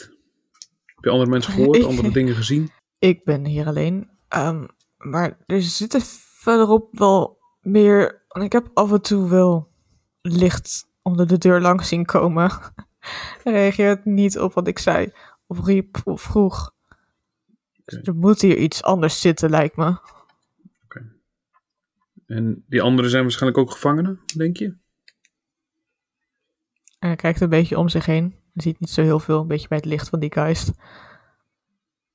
F: Heb je andere
B: Oh,
F: mensen gehoord, andere dingen gezien?
D: Ik ben hier alleen. Ehm, maar er zitten verderop wel meer. en Ik heb af en toe wel licht onder de deur langs zien komen. Hij reageert niet op wat ik zei, of riep, of vroeg. Dus er moet hier iets anders zitten, lijkt me.
F: En die anderen zijn waarschijnlijk ook gevangenen, denk je?
D: En hij kijkt een beetje om zich heen. Hij ziet niet zo heel veel, een beetje bij het licht van die geist.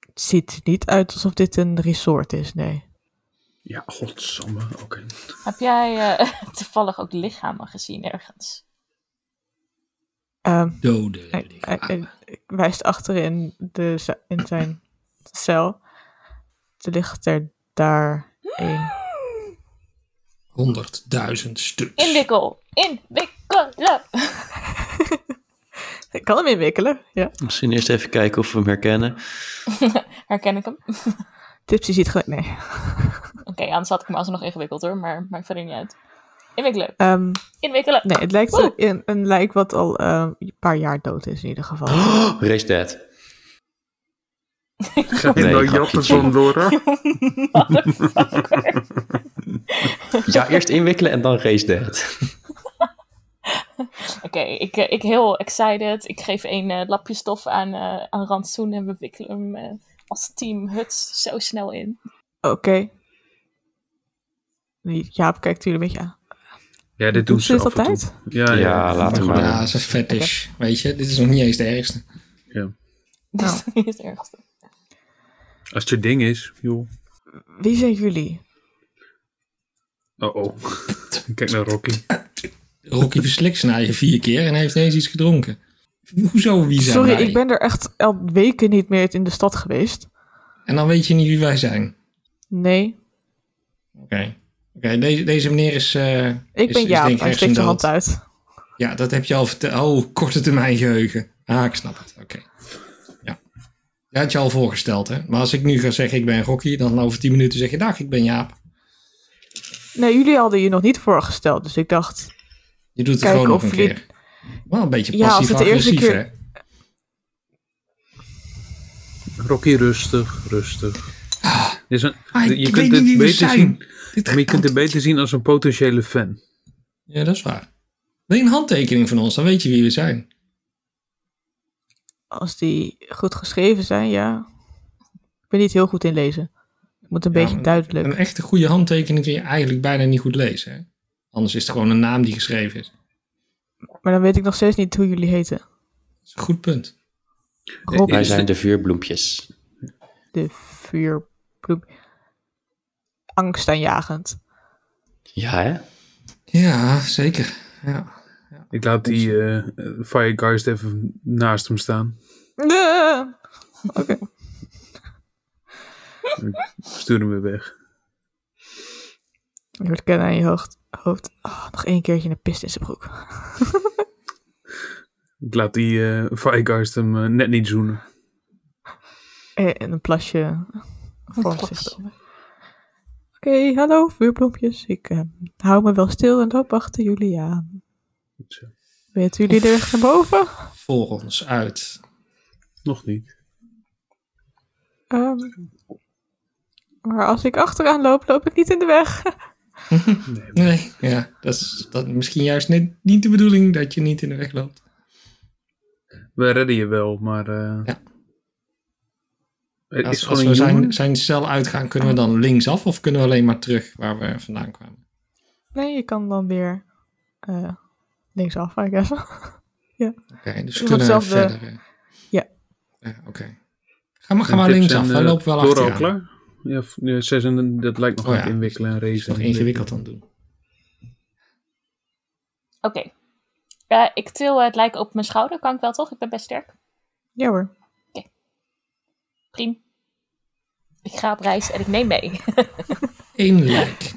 D: Het ziet er niet uit alsof dit een resort is, nee.
F: Ja, godsamme. Oké.
E: Heb jij eh, toevallig ook lichamen gezien ergens?
D: Ehm,
B: doden.
D: Hij, hij- hij- hij wijst achterin de, za- in zijn cel. Er ligt er daar één.
B: 100.000 stuks.
E: Inwikkel! Inwikkelen!
D: Ik kan hem inwikkelen, ja.
C: Misschien eerst even kijken of we hem herkennen.
E: Herken ik hem?
D: Tipsy ziet gelijk, nee.
E: Oké, anders had ik hem alsnog ingewikkeld hoor, maar maakt verder niet uit. Inwikkelen,
D: Ehm,
E: inwikkelen.
D: nee, het lijkt
E: Woe.
D: op een, een lijk wat al ehm, een paar jaar dood is in ieder geval.
C: Oh, Race Dead.
F: Gaat
C: Nee,
F: in de
C: grapje.
F: jatten vandoor?
E: Motherfucker.
C: Ja, eerst inwikkelen en dan Race Dead.
E: Oké, ik, eh, ik heel excited. Ik geef een eh, lapje stof aan, eh aan Rantsoen en we wikkelen hem eh, als team Huts zo snel in.
D: Oké. Jaap kijkt jullie een beetje aan.
F: Ja, dit doen
D: Doet
F: ze
D: ze dit
F: af en toe.
D: altijd?
F: Ja,
C: Ja, laten we
B: Maar ja,
C: maar.
B: dat is een fetish. Weet je, dit is nog niet eens de ergste.
E: Dus dat is het ergste.
F: Als het je ding is, joh.
D: Wie zijn jullie?
F: Oh oh. Kijk naar Rocky.
B: Rocky verslikt zijn eigen vier keer en heeft ineens iets gedronken. Hoezo, wie zijn
D: Sorry,
B: wij?
D: ik ben er echt al weken niet meer in de stad geweest.
B: En dan weet je niet wie wij zijn.
D: Nee,
B: Oké. Oké, deze, deze meneer is... eh,
D: ik
B: is-
D: ben
B: is
D: Jaap.
B: denk ik
D: Hij steekt zijn hand
B: hersendood.
D: uit.
B: Ja, dat heb je al verteld. Oh, korte termijn geheugen. Ah, ik snap het. Oké. Ja. Dat had je al voorgesteld, hè? Maar als ik nu ga zeggen ik ben Rocky, dan over 10 minuten zeg je dag, ik ben Jaap.
D: Nee, jullie hadden je nog niet voorgesteld, dus ik dacht...
B: Je doet het
D: Kijk
B: gewoon
D: of
B: nog een
D: jullie-
B: keer. Wel een beetje
D: Ja, als het de eerste
B: passief-agressief,
D: keer-
B: hè?
F: Rocky, rustig, rustig. Dit is een,
B: Ah, ik
F: je
B: weet
F: kunt
B: niet wie
F: dit
B: we
F: beter
B: zijn.
F: zien.
B: Dit
F: Maar je kunt het beter zien als een potentiële fan.
B: Ja, dat is waar. Wil je een handtekening van ons, dan weet je wie we zijn.
D: Als die goed geschreven zijn, ja. Ik ben niet heel goed in lezen. Het moet een
B: Ja,
D: beetje
B: maar-
D: duidelijk.
B: Een echte goede handtekening kun je eigenlijk bijna niet goed lezen. Hè? Anders is het gewoon een naam die geschreven is.
D: Maar dan weet ik nog steeds niet hoe jullie heten.
B: Dat is een goed punt.
D: Rob
C: Wij
D: is
C: zijn de vuurbloempjes.
D: de vuurbloem. Angstaanjagend.
C: Ja, hè?
B: Ja, zeker. Ja.
F: Ik laat die eh, Firegeist even naast hem staan.
D: Nee. Oké.
F: Stuur hem weer weg.
D: Je wordt kennen aan je hoofd. hoofd. Oh, nog één keertje een pist in zijn broek.
F: Ik laat die eh, Firegeist hem eh, net niet zoenen.
D: En en Eh, een plasje voor
E: Plas.
D: zich. Oké, hallo vuurbloempjes. Ik eh, hou me wel stil en dan wachten jullie aan.
F: Goed zo.
D: Weten jullie de weg naar boven?
B: Voor ons uit.
F: Nog niet.
D: Ehm, maar als ik achteraan loop, loop ik niet in de weg.
B: Nee, ja, dat is dat misschien juist net niet de bedoeling dat je niet in de weg loopt.
F: We redden je wel, maar... eh,
B: Ja.
F: Het is
B: Als,
F: gewoon
B: als
F: een
B: we
F: jongen.
B: zijn, zijn cel uitgaan, kunnen we dan linksaf of kunnen we alleen maar terug waar we vandaan kwamen?
D: Nee, je kan dan weer eh linksaf, I guess.
B: Oké, dus we
D: Nog
B: kunnen
D: hetzelfde-
B: verder. eh.
D: Ja.
B: Ja, Oké. Ga maar, ga
F: En
B: maar
F: tips
B: linksaf,
F: en,
B: wij
F: eh,
B: lopen wel
F: Dora
B: achteraan.
F: al klaar? Ja, v- ja, zes en dat lijkt nog
B: Oh
F: aan
B: ja.
F: het inwikkelen en
B: is nog
F: racen.
B: ingewikkeld aan het doen.
E: Oké. Eh, ik til eh, het lijk op mijn schouder, kan ik wel toch? Ik ben best sterk.
D: Ja hoor.
E: Priem. Ik ga op reis en ik neem mee.
B: Eén lijk.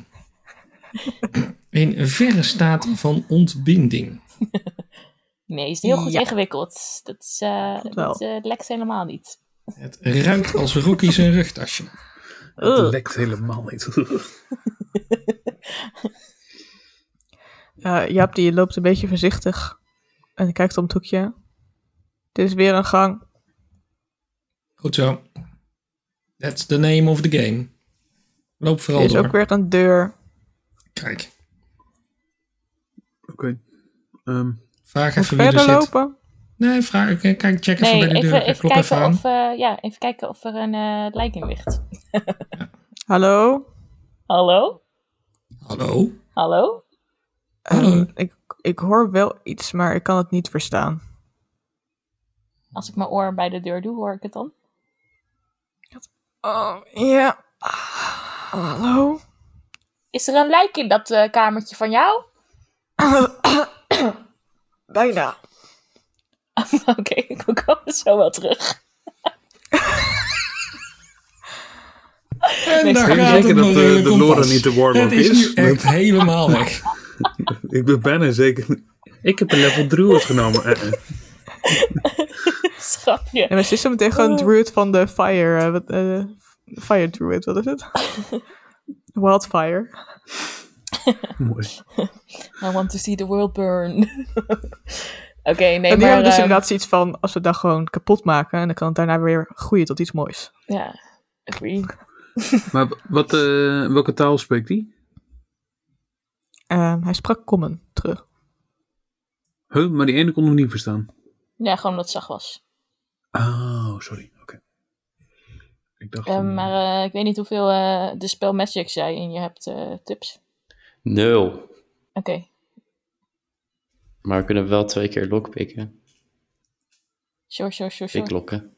B: In verre staat van ontbinding.
E: Nee, is heel goed
D: Ja.
E: ingewikkeld. Dat, is, eh
D: Klopt wel.
E: dat eh, lekt helemaal niet.
B: Het ruikt als Rocky zijn rugtasje.
F: Het
D: Ugh.
F: lekt helemaal niet.
D: Eh, Jaap die loopt een beetje voorzichtig en kijkt om het hoekje. Er is weer een gang.
B: Goed zo. That's the name of the game. Loop
D: Er
B: vooral
D: is
B: door.
D: ook weer een deur.
B: Kijk,
F: Oké. Ehm
B: vraag
D: Moet
B: even wie er
D: verder
B: zit.
D: lopen.
B: Nee, vraag, k- kijk, check even
E: Nee,
B: bij de
E: even,
B: deur.
E: even,
B: Klop
E: kijken
B: even aan.
E: of, eh, ja, even kijken of er een eh, lijk in ligt.
D: Hallo?
E: Hallo?
B: Hallo?
E: Hallo?
B: Hallo.
D: Eh, ik, ik hoor wel iets, maar ik kan het niet verstaan.
E: Als ik mijn oor bij de deur doe, hoor ik het dan.
D: Oh, ja. Ah, Hallo?
E: Is er een lijk in dat eh, kamertje van jou?
D: Bijna.
E: Oké, we komen zo wel terug.
B: En
E: Nee,
B: daar
E: ik
F: Ik
B: gaat het
F: denk zeker dat
B: nog
F: de,
B: redelijk
F: de
B: om
F: Laura
B: pas.
F: niet de
B: Het
F: Warlock
B: is
F: is.
B: nu
F: Dat-
B: echt helemaal weg.
F: ik ben bijna zeker. Ik heb een level 3 opgenomen. Eh, eh.
E: Schatje.
D: En het is zo meteen gewoon druid van de fire. eh, wat, eh, fire druid, wat is het? Wildfire.
F: Mooi.
E: I want to see the world burn. Oké, nee,
D: en die
E: maar...
D: hebben dus
E: ehm,
D: inderdaad zoiets van, als we dat gewoon kapot maken, en dan kan het daarna weer groeien tot iets moois.
E: Ja, agree.
F: Maar w- wat, eh, welke taal spreekt die?
D: Ehm, hij sprak common terug.
F: Huh, maar die ene kon hem niet verstaan.
E: Ja, gewoon omdat het zacht was.
F: Oh, sorry. Oké. Ik dacht.
E: Eh,
F: van-
E: maar eh, ik weet niet hoeveel eh, de spel Magic jij en je hebt eh, tips.
C: Nul.
E: Oké,
C: Maar we kunnen wel twee keer lokpikken.
E: sure, sure, sure,
C: Ik
E: sure.
C: lokken.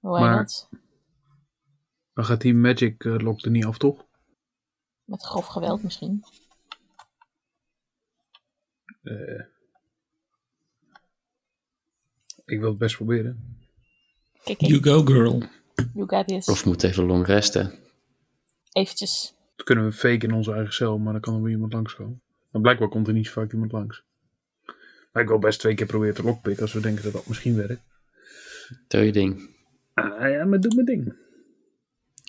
E: Why
F: Maar-
E: not?
F: Dan gaat die Magic eh, Lock er niet af, toch?
E: Met grof geweld misschien.
F: Eh, ik wil het best proberen.
E: Kijk, kijk,
B: You go, girl.
E: you got this.
C: Of moet even long resten.
E: Eventjes.
F: Dan kunnen we fake in onze eigen cel, maar dan kan er weer iemand langskomen. Maar blijkbaar komt er niet zo vaak iemand langs. Maar ik wil best twee keer proberen te lockpicken als we denken dat dat misschien werkt.
C: Doe je ding.
F: Ah ja, maar doe mijn ding.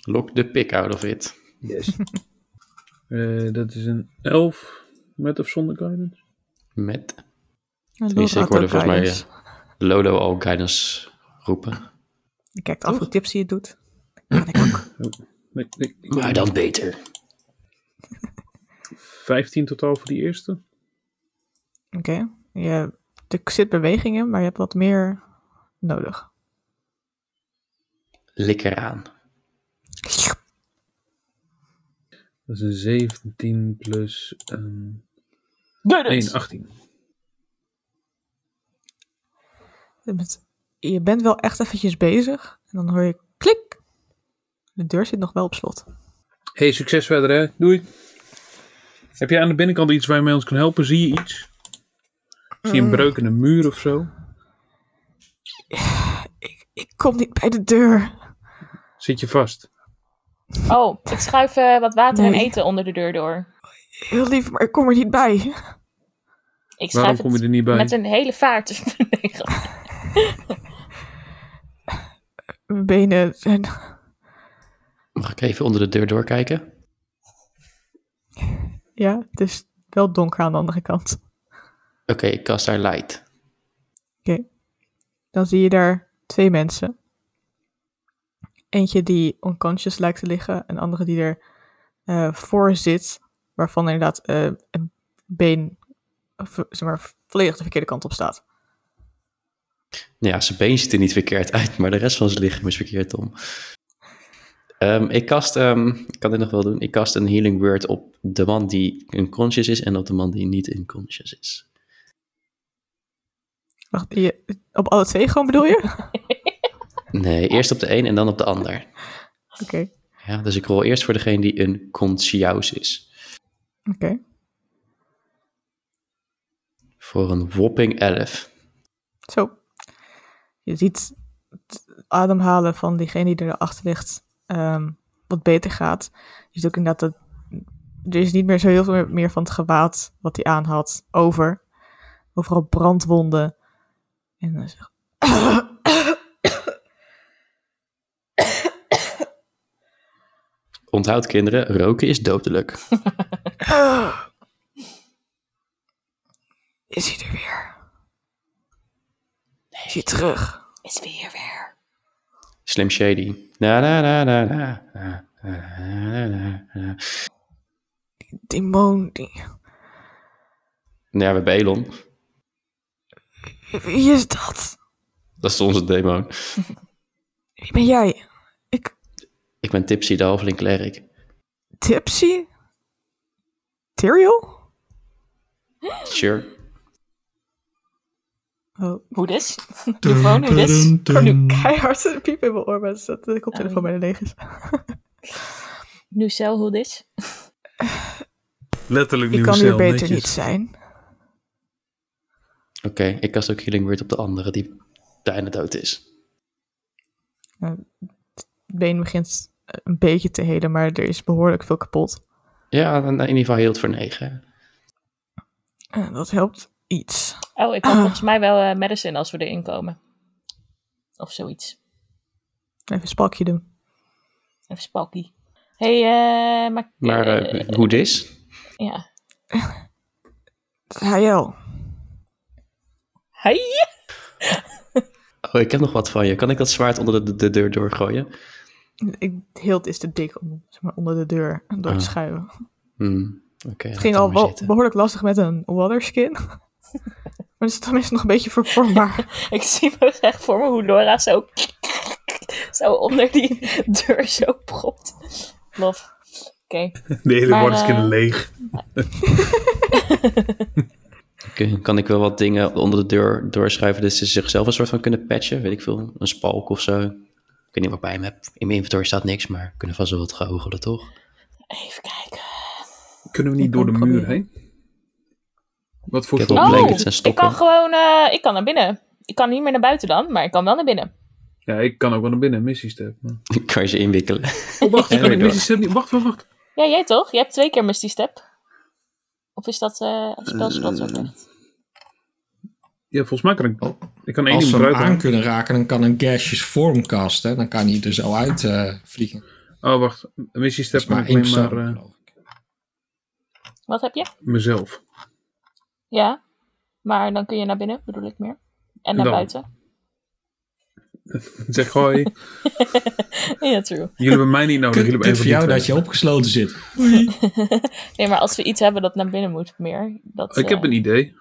C: Lok de pik out of it.
F: Yes. Eh, dat is een 11 met of zonder guidance.
C: Met.
D: En
C: Tenminste,
D: Laura
C: ik hoorde
D: had ook
C: volgens mij
D: guidance.
C: eh, Lodo al guidance roepen.
D: Je kijkt af hoe Tipsy het doet. Kan ik ook.
F: Nee, nee, ik-
C: Maar dan beter.
F: 15 totaal voor die eerste.
D: Oké. Je- Er zit beweging in, maar je hebt wat meer nodig.
C: Lik eraan.
F: Dat is een 17 plus een
E: Guidance!
F: 1, 18.
D: Met- Je bent wel echt eventjes bezig. En dan hoor je klik. De deur zit nog wel op slot.
F: Hey, succes verder hè. Doei. Heb jij aan de binnenkant iets waar je mee ons kan helpen? Zie je iets? Zie je een breukende muur of zo?
D: Ik kom niet bij de deur.
F: Zit je vast?
E: Oh, ik schuif eh, wat water en
D: Nee.
E: eten onder de deur door.
D: Heel lief, maar ik kom er niet bij.
E: Ik schuif
F: Waarom kom je
E: het
F: er niet bij?
E: met een hele vaart. Nee, grap.
D: Mijn benen zijn...
C: Mag ik even onder de deur doorkijken?
D: Ja, het is wel donker aan de andere kant.
C: Oké, ik kast daar light.
D: Dan zie je daar twee mensen. Eentje die onconscious lijkt te liggen. Een andere die er eh, voor zit. Waarvan inderdaad eh, een been of, zeg maar, volledig de verkeerde kant op staat.
C: Nou ja, zijn been ziet er niet verkeerd uit, maar de rest van zijn lichaam is verkeerd om. Ehm, ik kast, ehm, ik kan dit nog wel doen, ik kast een healing word op de man die unconscious is en op de man die niet unconscious is.
D: Wacht, je, op alle twee gewoon bedoel je? Oké.
C: Nee, eerst op de een en dan op de ander. Ja, dus ik rol eerst voor degene die unconscious is.
D: Oké.
C: Voor een whopping 11.
D: Zo. Je ziet het ademhalen van diegene die erachter ligt ehm, wat beter gaat. Je ziet ook inderdaad dat er is niet meer zo heel veel meer van het gewaad wat hij aan had over. Overal brandwonden. En dan zegt...
C: Onthoud kinderen, roken is dodelijk.
D: Is hij er weer? Is hij terug?
E: It's weer weer.
C: Slim Shady. Na, na, na, na, na, na, na, na, na.
D: Demon, die...
C: Nou ja, we hebben Elon.
D: Wie is dat?
C: Dat is onze demon.
D: Wie ben jij? Ik...
C: Ik ben Tipsy, de halfling klerk.
D: Tipsy? Tyrael?
C: Sure.
D: Oh,
E: Hoe dus? Je phone hoe dus?
B: Dun,
D: ik hoor
B: dun,
D: nu
B: dun.
D: keihard een piep in mijn oor, maar dat is dat de koptelefoon bijna leeg is.
E: Nu cel hoe dus?
F: Letterlijk
D: Je
F: nieuwe
D: kan hier
F: cel,
D: beter
F: netjes.
D: niet zijn.
C: Oké, ik kast ook Healing Word op de andere die bijna dood is.
D: Het been begint een beetje te helen, maar er is behoorlijk veel kapot.
C: Ja, in ieder geval heel het voor negen.
D: Eh, dat helpt iets.
E: Oh, ik had volgens mij wel eh, medicine als we erin komen. Of zoiets.
D: Even een spalkje doen.
E: Even spalkie. hey, eh, maar...
C: Maar
E: eh,
C: eh, hoe dis?
E: ja.
D: Hayel.
E: Hey!
C: Oh, ik heb nog wat van je. Kan ik dat zwaard onder de, de deur doorgooien?
D: Ik, Hilt is te dik om zeg maar, onder de deur door
C: Ah.
D: te schuiven.
C: Hmm, Oké.
D: Het ging
C: laat
D: al
C: dat maar
D: wel
C: zitten.
D: behoorlijk lastig met een waterskin. maar het dus is tenminste nog een beetje vervormbaar.
E: Ik zie me echt voor me hoe Laura zo... zo onder die deur zo propt. Lof. Oké.
F: De hele
E: Maar,
F: waterskin
E: eh,
F: leeg.
C: Oké, Kan ik wel wat dingen onder de deur doorschuiven, dat ze zichzelf een soort van kunnen patchen? Weet ik veel, een spalk of zo. Ik weet niet wat ik bij hem heb. In mijn inventory staat niks, maar we kunnen vast wel wat geogelen, toch?
E: Even kijken.
F: Kunnen we niet
D: ik
F: door de
D: kan
F: muur
D: proberen.
F: heen? Wat voor
C: Ik heb
F: soort-
C: wel
E: Oh,
C: blankets en
E: ik
C: stokken.
E: kan gewoon... eh, ik kan naar binnen. Ik kan niet meer naar buiten dan, maar ik kan wel naar binnen.
F: Ja, ik kan ook wel naar binnen, missies te hebben.
C: kan je ze inwikkelen.
F: Oh, wacht, ik
C: En
F: kan
C: weer
F: die
C: door.
F: missies hebben niet. Wacht, wacht, wacht.
E: Ja, jij toch? Je hebt twee keer Misty Step. Of is dat eh spelslot ook echt?
F: Ja, volgens mij kan ik.
B: Oh,
F: Ik kan één
B: Als
F: ding
B: ze hem
F: gebruiken.
B: aan kunnen raken, dan kan een Gashes vorm casten. Dan kan hij er zo uit eh, vliegen. Dat
F: Oh, wacht. Missies te
B: is maar
F: hebben
B: één
F: alleen maar
B: persoon,
F: eh,
B: geloof ik.
E: Wat heb je?
F: mezelf.
E: Ja, maar dan kun je naar binnen, bedoel ik meer. En naar
F: Dan.
E: buiten.
F: Zeg hoi.
E: Ja, true.
F: Jullie hebben mij niet eh, nodig.
B: Kut,
F: Jullie hebben
B: kut voor
F: één van
B: jou
F: die
B: dat je opgesloten zit.
E: Nee, maar als we iets hebben dat naar binnen moet, meer. Dat,
F: twee. Ik
E: eh,
F: heb een idee.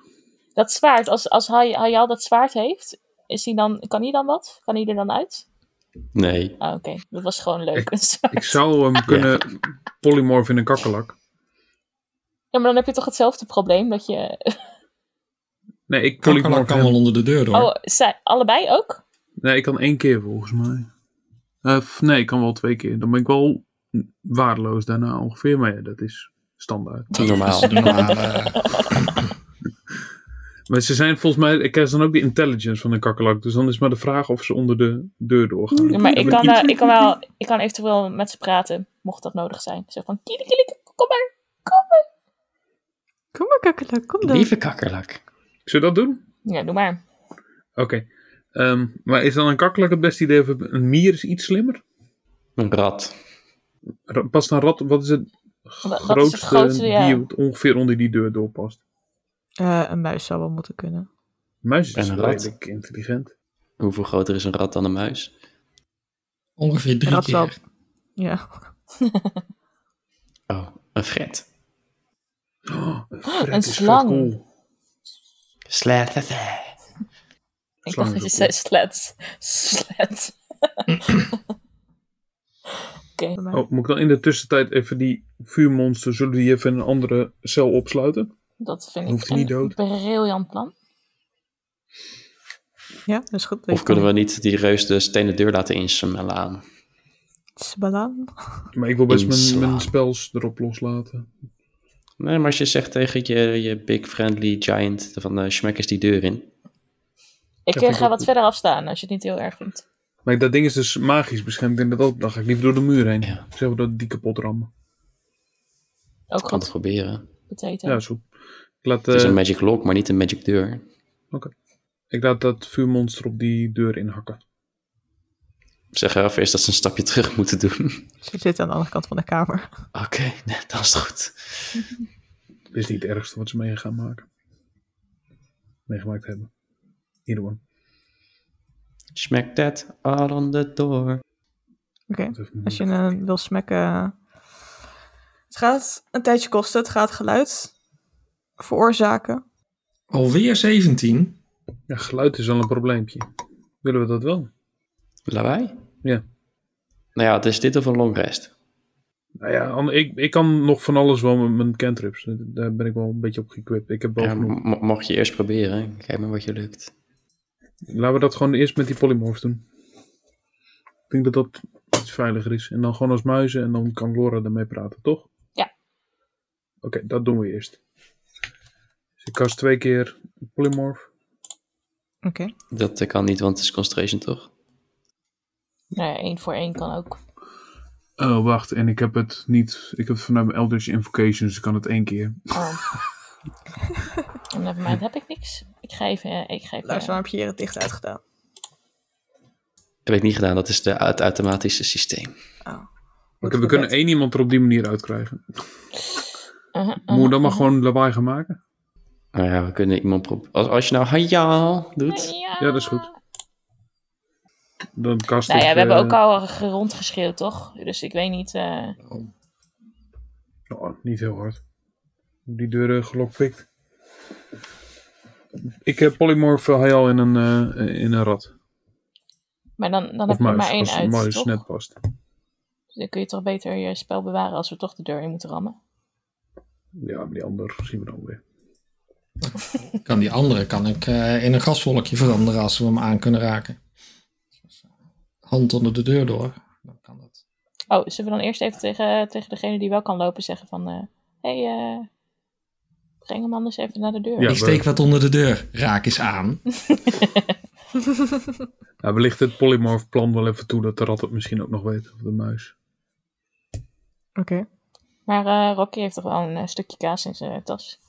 E: dat zwaard, als, als hij, hij al dat zwaard heeft, is hij dan, kan hij dan wat? Kan hij er dan uit?
C: Nee.
E: Ah, oké. Dat was gewoon leuk. een zwaard.
F: Ik zou hem kunnen polymorph in een kakkerlak.
E: Ja, maar dan heb je toch hetzelfde probleem dat je...
F: Nee, ik
B: Kakkerlak
F: polymorph
B: kan
F: hem.
B: wel onder de deur door.
E: Oh, zij, allebei ook?
F: Nee, ik kan één keer volgens mij. Eh, f- nee, ik kan wel twee keer. Dan ben ik wel waardeloos daarna ongeveer. Maar ja, dat is standaard.
C: Normaal.
B: Dat is de normale, eh,
F: Maar ze zijn volgens mij, ik krijg dan ook de intelligence van de kakkerlak. Dus dan is maar de vraag of ze onder de deur doorgaan.
E: Ja, maar ik
F: Of
E: kan,
F: iets-
E: eh, ik kan wel, ik kan eventueel met ze praten, mocht dat nodig zijn. Zo van, kieliekieliek, kom maar, kom maar.
D: Kom maar, kakkelak, kom dan.
C: Lieve kakkerlak.
F: Zullen we dat doen?
E: Ja, doe maar.
F: Oké. Ehm, maar is dan een kakkerlak het beste idee? Of een mier is iets slimmer?
C: Een rat.
F: Ra- Past een rat, wat is het
E: wat is het
F: grootste,
E: grootste, ja.
F: die het ongeveer onder die deur doorpast?
D: Eh, een muis zou wel moeten kunnen.
F: Muis is
C: En een
F: wel
C: rat.
F: redelijk intelligent.
C: Hoeveel groter is een rat dan een muis?
B: ongeveer drie
D: Rat wel.
B: keer.
D: Ja.
C: Oh, een fret.
F: Oh, een, fret
E: Een
F: is vet
E: slang.
F: cool.
C: Slatterfij.
E: Ik
F: Slang
E: dacht dat je
F: is
E: zei
F: ook
E: slet. Slet. Oké.
D: bij mij.
F: Oh, moet ik dan in de tussentijd even die vuurmonster, zullen we die even in een andere cel opsluiten?
E: Dat vind
F: Hoeft
E: ik
F: hij niet
E: een
F: dood?
E: briljant plan.
D: Ja, dat is goed.
C: Of kunnen we niet die reus de stenen deur laten insmellen aan?
D: Sbalaan.
F: Maar ik wil best mijn,
C: Inslaan.
F: mijn spels erop loslaten.
C: Nee, maar als je zegt tegen je, je big friendly giant van eh smek eens die deur in.
E: Ik
F: vind
E: eh,
F: ik
E: ga wat
F: ook goed.
E: verder afstaan als je het niet heel erg vindt.
F: Maar dat ding is dus magisch beschermd inderdaad. Dan ga ik liever door de muur heen.
C: Ja.
F: Zeg maar dat die kapot rammen.
E: Ook
C: Kan het
E: goed
C: proberen.
E: beteten.
F: Ja, is goed. Ik laat,
C: Het is
F: eh,
C: een magic lock, maar niet een magic deur.
F: ik laat dat vuurmonster op die deur inhakken.
C: Zeg haar eerst dat ze een stapje terug moeten doen.
D: Ze zit aan de andere kant van de kamer.
C: Oké, nee, dat is goed.
F: Dat is niet het ergste wat ze mee gaan maken. Meegemaakt hebben. Either one.
C: Smack that all on the door.
D: Oké.
F: Dat is
D: Als je
F: moeilijk.
D: hem wil smekken. Het gaat een tijdje kosten. Het gaat geluid veroorzaken.
B: Alweer 17.
F: Ja, geluid is wel een probleempje. Willen we dat wel?
C: Lawaai?
F: Ja.
C: Nou ja, het is dit of een long rest.
F: Nou ja, an- ik, ik kan nog van alles wel met mijn cantrips. Daar ben ik wel een beetje op gekwipt. Ik heb wel
C: Ja,
F: genoeg.
C: mo- mocht je eerst proberen, kijk maar wat je lukt.
F: Laten we dat gewoon eerst met die polymorphs doen. Ik denk dat dat iets veiliger is. En dan gewoon als muizen en dan kan Laura ermee praten, toch?
E: Ja.
F: Oké, dat doen we eerst. Dus ik kast twee keer polymorph.
D: Oké.
C: Dat eh, kan niet, want het is concentration toch?
E: Nou ja, één voor één kan ook.
F: Oh, wacht. En ik heb Oh. het niet... Ik heb het vanuit mijn Eldritch Invocation, dus ik kan het één keer.
E: Oh. Nevermind, heb ik niks. Ik ga even... eh, Ik ga even
D: Luister, waarom heb je hier het licht uitgedaan?
C: Heb ik niet gedaan, dat is de, het automatische systeem.
D: Oh.
F: Oké, we kunnen één iemand er op die manier uitkrijgen.
E: eh, eh,
F: Moet je dan maar gewoon lawaai gaan maken?
C: Nou ja, we kunnen iemand proberen. Als, als je nou hajaal doet.
E: Ja.
F: Ja, dat is goed. Dan kast
E: Nou
F: ik,
E: ja, we hebben
F: eh,
E: ook al ge- rondgeschreeuwd, toch? Dus ik weet niet... eh,
F: nou, niet heel hard. Die deuren gelokpikt. Ik heb polymorf al in een, eh, in een rat.
E: Maar dan, dan
F: Of
E: heb je er maar
F: muis,
E: één
F: als de
E: uit,
F: muis
E: toch?
F: net past.
E: Dan kun je toch beter je spel bewaren als we toch de deur in moeten rammen.
F: Ja, maar die ander zien we dan weer.
B: Kan die andere kan ik eh, in een gasvolkje veranderen als we hem aan kunnen raken. Hand onder de deur door. Dan kan dat.
E: Oh, zullen we dan eerst even tegen, tegen degene die wel kan lopen zeggen van... eh, hey, eh, breng hem anders even naar de deur.
B: ik
F: Ja, we-
B: steek wat onder de deur. Raak eens aan.
F: Nou, wellicht het polymorf plan wel even toe dat de rat het misschien ook nog weet. Of de muis.
D: Oké.
E: Maar eh, Rocky heeft toch wel een eh, stukje kaas in zijn tas.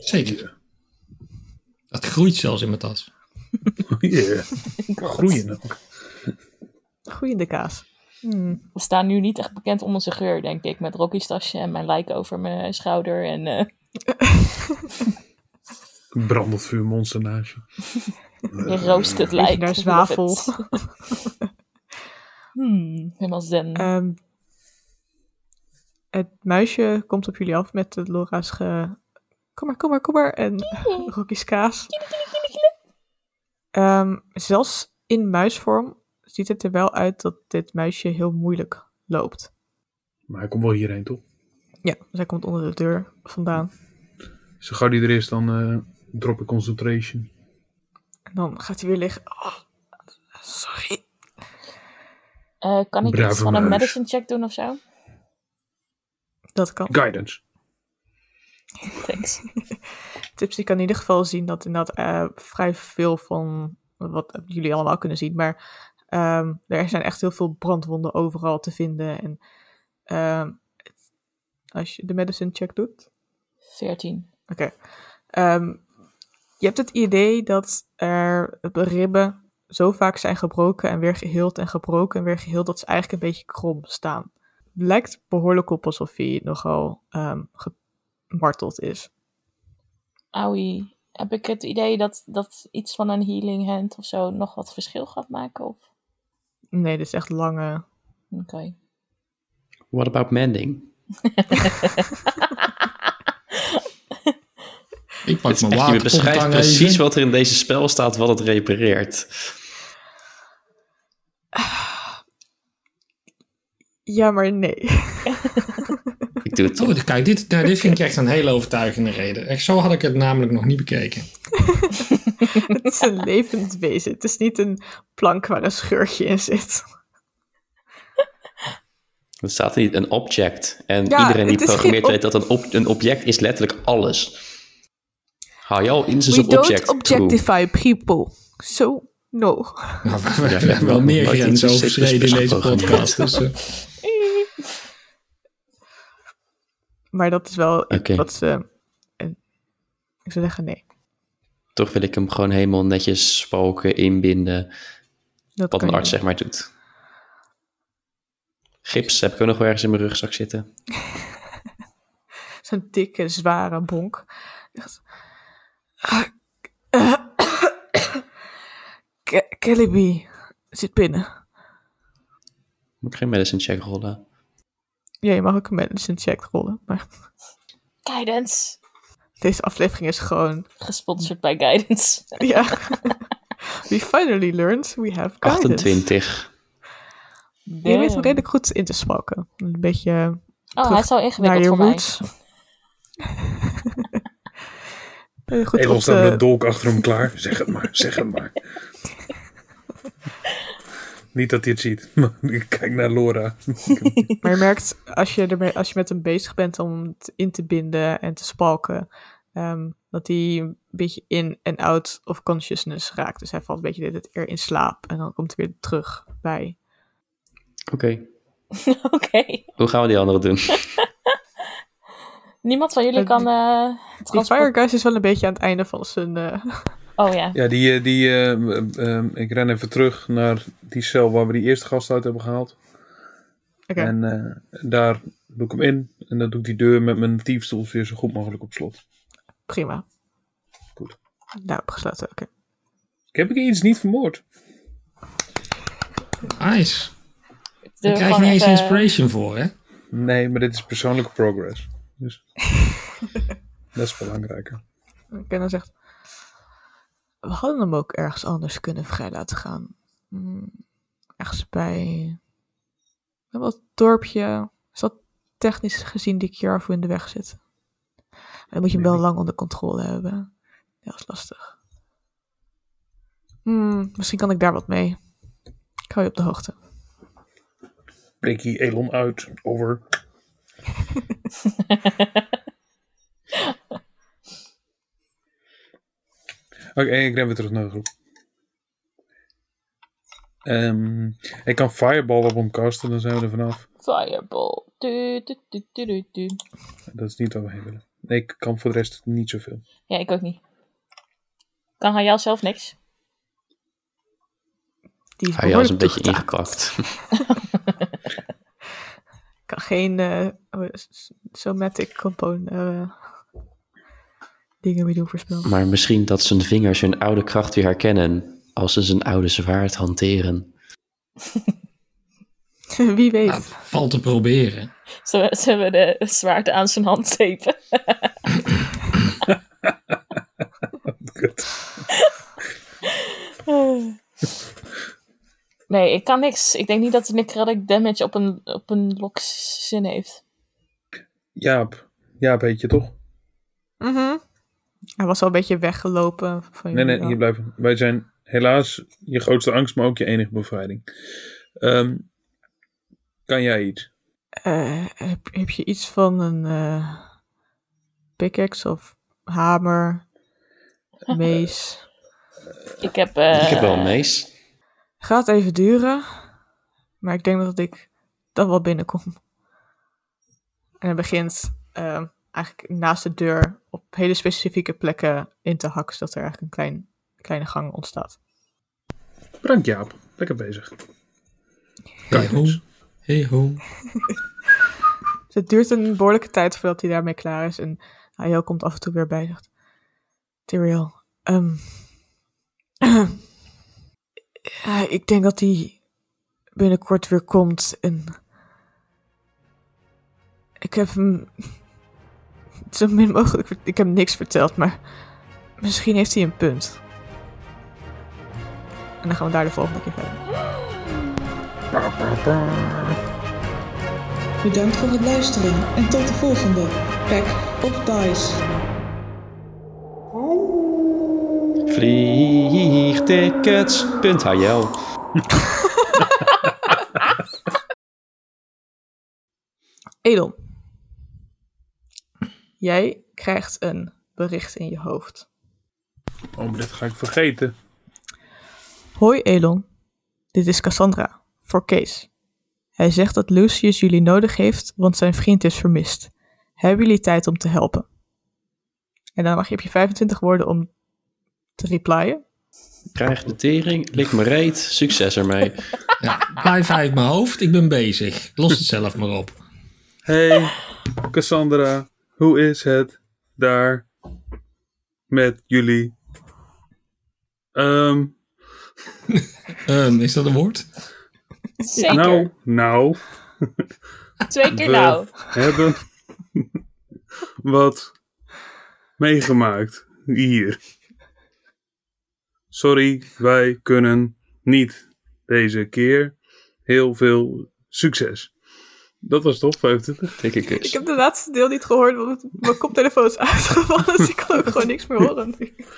B: Zeker. Dat groeit zelfs in mijn tas.
F: Yeah. Groeien ook.
D: Groeiende kaas. Hmm.
E: We staan nu niet echt bekend om onze geur, denk ik. Met Rocky's tasje en mijn lijk over mijn schouder. En eh,
F: Een brandend vuurmonster naast je.
E: je roost het lijk.
D: Eh, Beetje naar
E: Ik love
D: zwavel.
E: it. Hmm, helemaal zen.
D: Ehm, het muisje komt op jullie af met de Lora's ge... Kom maar, kom maar, kom maar. En Rocky's kaas. Ehm, zelfs in muisvorm ziet het er wel uit dat dit muisje heel moeilijk loopt.
F: Maar hij komt wel hierheen, toch?
D: Ja, zij komt onder de deur vandaan.
F: Zo gauw die er is, dan eh, drop ik concentration.
D: En dan gaat hij weer liggen. Oh, sorry.
E: Eh, kan ik iets
F: Brave
E: van een
F: muis.
E: medicine check doen of zo?
D: Dat kan.
F: Guidance.
E: Thanks.
D: Tipsy kan in ieder geval zien dat inderdaad eh, vrij veel van wat jullie allemaal kunnen zien. Maar ehm, er zijn echt heel veel brandwonden overal te vinden. En ehm, het- als je de medicine check doet.
E: 14.
D: Oké. Ehm, je hebt het idee dat er de ribben zo vaak zijn gebroken en weer geheeld en gebroken en weer geheeld dat ze eigenlijk een beetje krom staan. Lijkt behoorlijk op alsof hij nogal ehm, gemarteld is.
E: Aui. Heb ik het idee dat, dat iets van een healing hand of zo nog wat verschil gaat maken? Of...
D: Nee, dit is echt lange,
E: Oké.
C: What about mending?
B: Ik
C: Het
B: pak
C: is
B: mijn
C: echt, je
B: waterpomp
C: beschrijft precies wat er in deze spel staat, wat het repareert.
D: Ja, maar nee.
C: Ik doe het toch.
B: Oh, kijk, dit, nou, dit vind ik echt een hele overtuigende reden. Echt, zo had ik het namelijk nog niet bekeken.
D: Het is een levend wezen. Het is niet een plank waar een scheurtje in zit.
C: Er staat niet een object. En
D: Ja,
C: iedereen die
D: het is
C: programmeert
D: geen
C: weet
D: ob-
C: dat een, ob- een object is letterlijk alles. Haal jou in zijn object. True.
D: people. So, no.
B: Nou, we, we
C: Ja,
B: hebben wel
C: ja,
B: meer
C: ja,
B: grenzen
C: ja,
B: overschreden in
C: ja,
B: deze
C: ja, ja,
B: podcast. Dus, eh,
D: Maar dat is wel iets
C: Oké.
D: wat ze... en- ik zou zeggen nee.
C: Toch wil ik hem gewoon helemaal netjes spoken, inbinden.
D: Dat
C: Wat
D: kan
C: een
D: je
C: arts zeg maar doet. Gips heb ik ook nog wel ergens in mijn rugzak zitten.
D: niet. Zo'n dikke, zware bonk. Echt. Ah, eh, Ke- Kelly B zit binnen.
C: Moet ik geen medicine check rollen.
D: Ja, je mag ook een medicine check rollen. Maar
E: Guidance.
D: deze aflevering is gewoon...
E: Gesponsord bij Guidance.
D: Ja. We finally learned we have guidance.
C: 28.
D: Je weet hem redelijk goed in te smoken. Een beetje eh,
E: Oh, hij
D: terug
E: is al
D: naar
E: ingewikkeld
D: je
E: voor mij.
D: roots. Eh, goed
F: Edel
D: op
F: staat met
D: de,
F: een dolk achter hem klaar. Zeg het maar, zeg het maar. Niet dat hij het ziet, maar ik kijk naar Laura.
D: maar je merkt, als je, ermee, als je met hem bezig bent om het in te binden en te spalken, ehm, dat hij een beetje in en out of consciousness raakt. Dus hij valt een beetje de hele tijd eer in slaap en dan komt hij weer terug bij.
C: Oké.
E: Oké.
C: Hoe gaan we die andere doen?
E: Niemand van jullie
D: Eh,
E: kan eh,
D: Die
E: Transport...
D: Fire Guys is wel een beetje aan het einde van zijn... eh,
E: Oh ja.
F: Ja, die, eh, die, eh, m- ehm, ik ren even terug naar die cel waar we die eerste gast uit hebben gehaald.
D: Oké.
F: En eh, daar doe ik hem in. En dan doe ik die deur met mijn tiefstoel weer zo goed mogelijk op slot.
D: Prima.
F: Goed.
D: Nou, opgesloten, oké.
F: Ik heb ik iets niet vermoord.
B: eh, Nice.
E: De-
B: Daar krijg je
E: gewoon
B: niet eens
E: even-
B: inspiration voor, hè?
F: Nee, maar dit is persoonlijke progress. Dus dat is belangrijker.
D: En dan zegt... We hadden hem ook ergens anders kunnen vrij laten gaan. Hmm, ergens bij... Wel Dat dorpje... Is dat technisch gezien die Kjarvo in de weg zit? Dan moet je hem wel lang onder controle hebben. Ja, dat is lastig. Hmm, misschien kan ik daar wat mee. Ik hou je op de hoogte.
F: Breek hier Elon uit. Over. Oké, ik ren weer terug naar de groep. Ehm, ik kan Fireball op hem casten, dan zijn we er vanaf.
E: Fireball. Du, du, du, du, du, du.
F: Dat is niet waar we heen willen. Nee, ik kan voor de rest niet zoveel.
E: Ja, ik ook niet. Kan Hayal zelf niks?
D: Die is
C: Hij is een
D: behoorlijk
C: beetje
D: toegetakeld.
C: ingepakt.
D: kan geen eh, oh, s- s- somatic component eh, dingen meer doen voorspel.
C: Maar misschien dat zijn vingers hun oude kracht weer herkennen als ze zijn oude zwaard hanteren.
D: Wie weet.
C: Nou,
B: Ja, Nou, valt te proberen.
E: Zullen we, zullen we de het zwaard aan zijn hand tapen?
F: Kut.
E: Nee, ik kan niks. Ik denk niet dat de necrotic damage op een, op een lok zin heeft.
F: Jaap. Jaap heet je toch?
D: Mhm. Hij was al een beetje weggelopen van jullie
F: Nee, nee,
D: wel.
F: hier blijven. Wij zijn helaas je grootste angst, maar ook je enige bevrijding. Ehm, kan jij iets?
D: Eh, heb, heb je iets van een eh pickaxe of hamer, mees?
E: Ik heb... eh,
C: Ik heb wel een mees.
D: Gaat even duren, maar ik denk dat ik dan wel binnenkom. En hij begint ehm, eigenlijk naast de deur op hele specifieke plekken in te hakken, zodat er eigenlijk een klein, kleine gang ontstaat.
F: Bedankt Jaap, lekker bezig.
B: Hey ho.
F: Kijk
B: Hey ho.
D: Dus het duurt een behoorlijke tijd voordat hij daarmee klaar is. En Ayo komt af en toe weer bij en zegt... Tyrael, ehm, eh, ik denk dat hij binnenkort weer komt. En ik heb hem zo min mogelijk... vert- Ik heb hem niks verteld, maar misschien heeft hij een punt. En dan gaan we daar de volgende keer verder.
A: Bedankt voor het luisteren en tot de volgende Pack of Dice.
C: Vliegtickets.hl
D: Edel. Jij krijgt een bericht in je hoofd.
F: Oh, maar dit ga ik vergeten.
D: Hoi Elon, dit is Cassandra, voor Kees. Hij zegt dat Lucius jullie nodig heeft, want zijn vriend is vermist. Hebben jullie tijd om te helpen? En dan mag je op je 25 woorden om te replyen.
C: Krijg de tering, lik me reet, succes ermee.
B: Ja, blijf uit mijn hoofd, ik ben bezig. Los het zelf maar op.
F: Hey, Oh. Cassandra, hoe is het daar met jullie? Ehm,
B: Ehm, is dat een woord?
E: Zeker.
F: nou, nou,
E: Twee keer
F: we
E: nou.
F: hebben wat meegemaakt hier. Sorry, wij kunnen niet deze keer. Heel veel succes. Dat was top 25.
C: Dikke kus.
D: Ik heb de laatste deel niet gehoord, want mijn koptelefoon is uitgevallen, dus ik kan ook gewoon niks meer horen.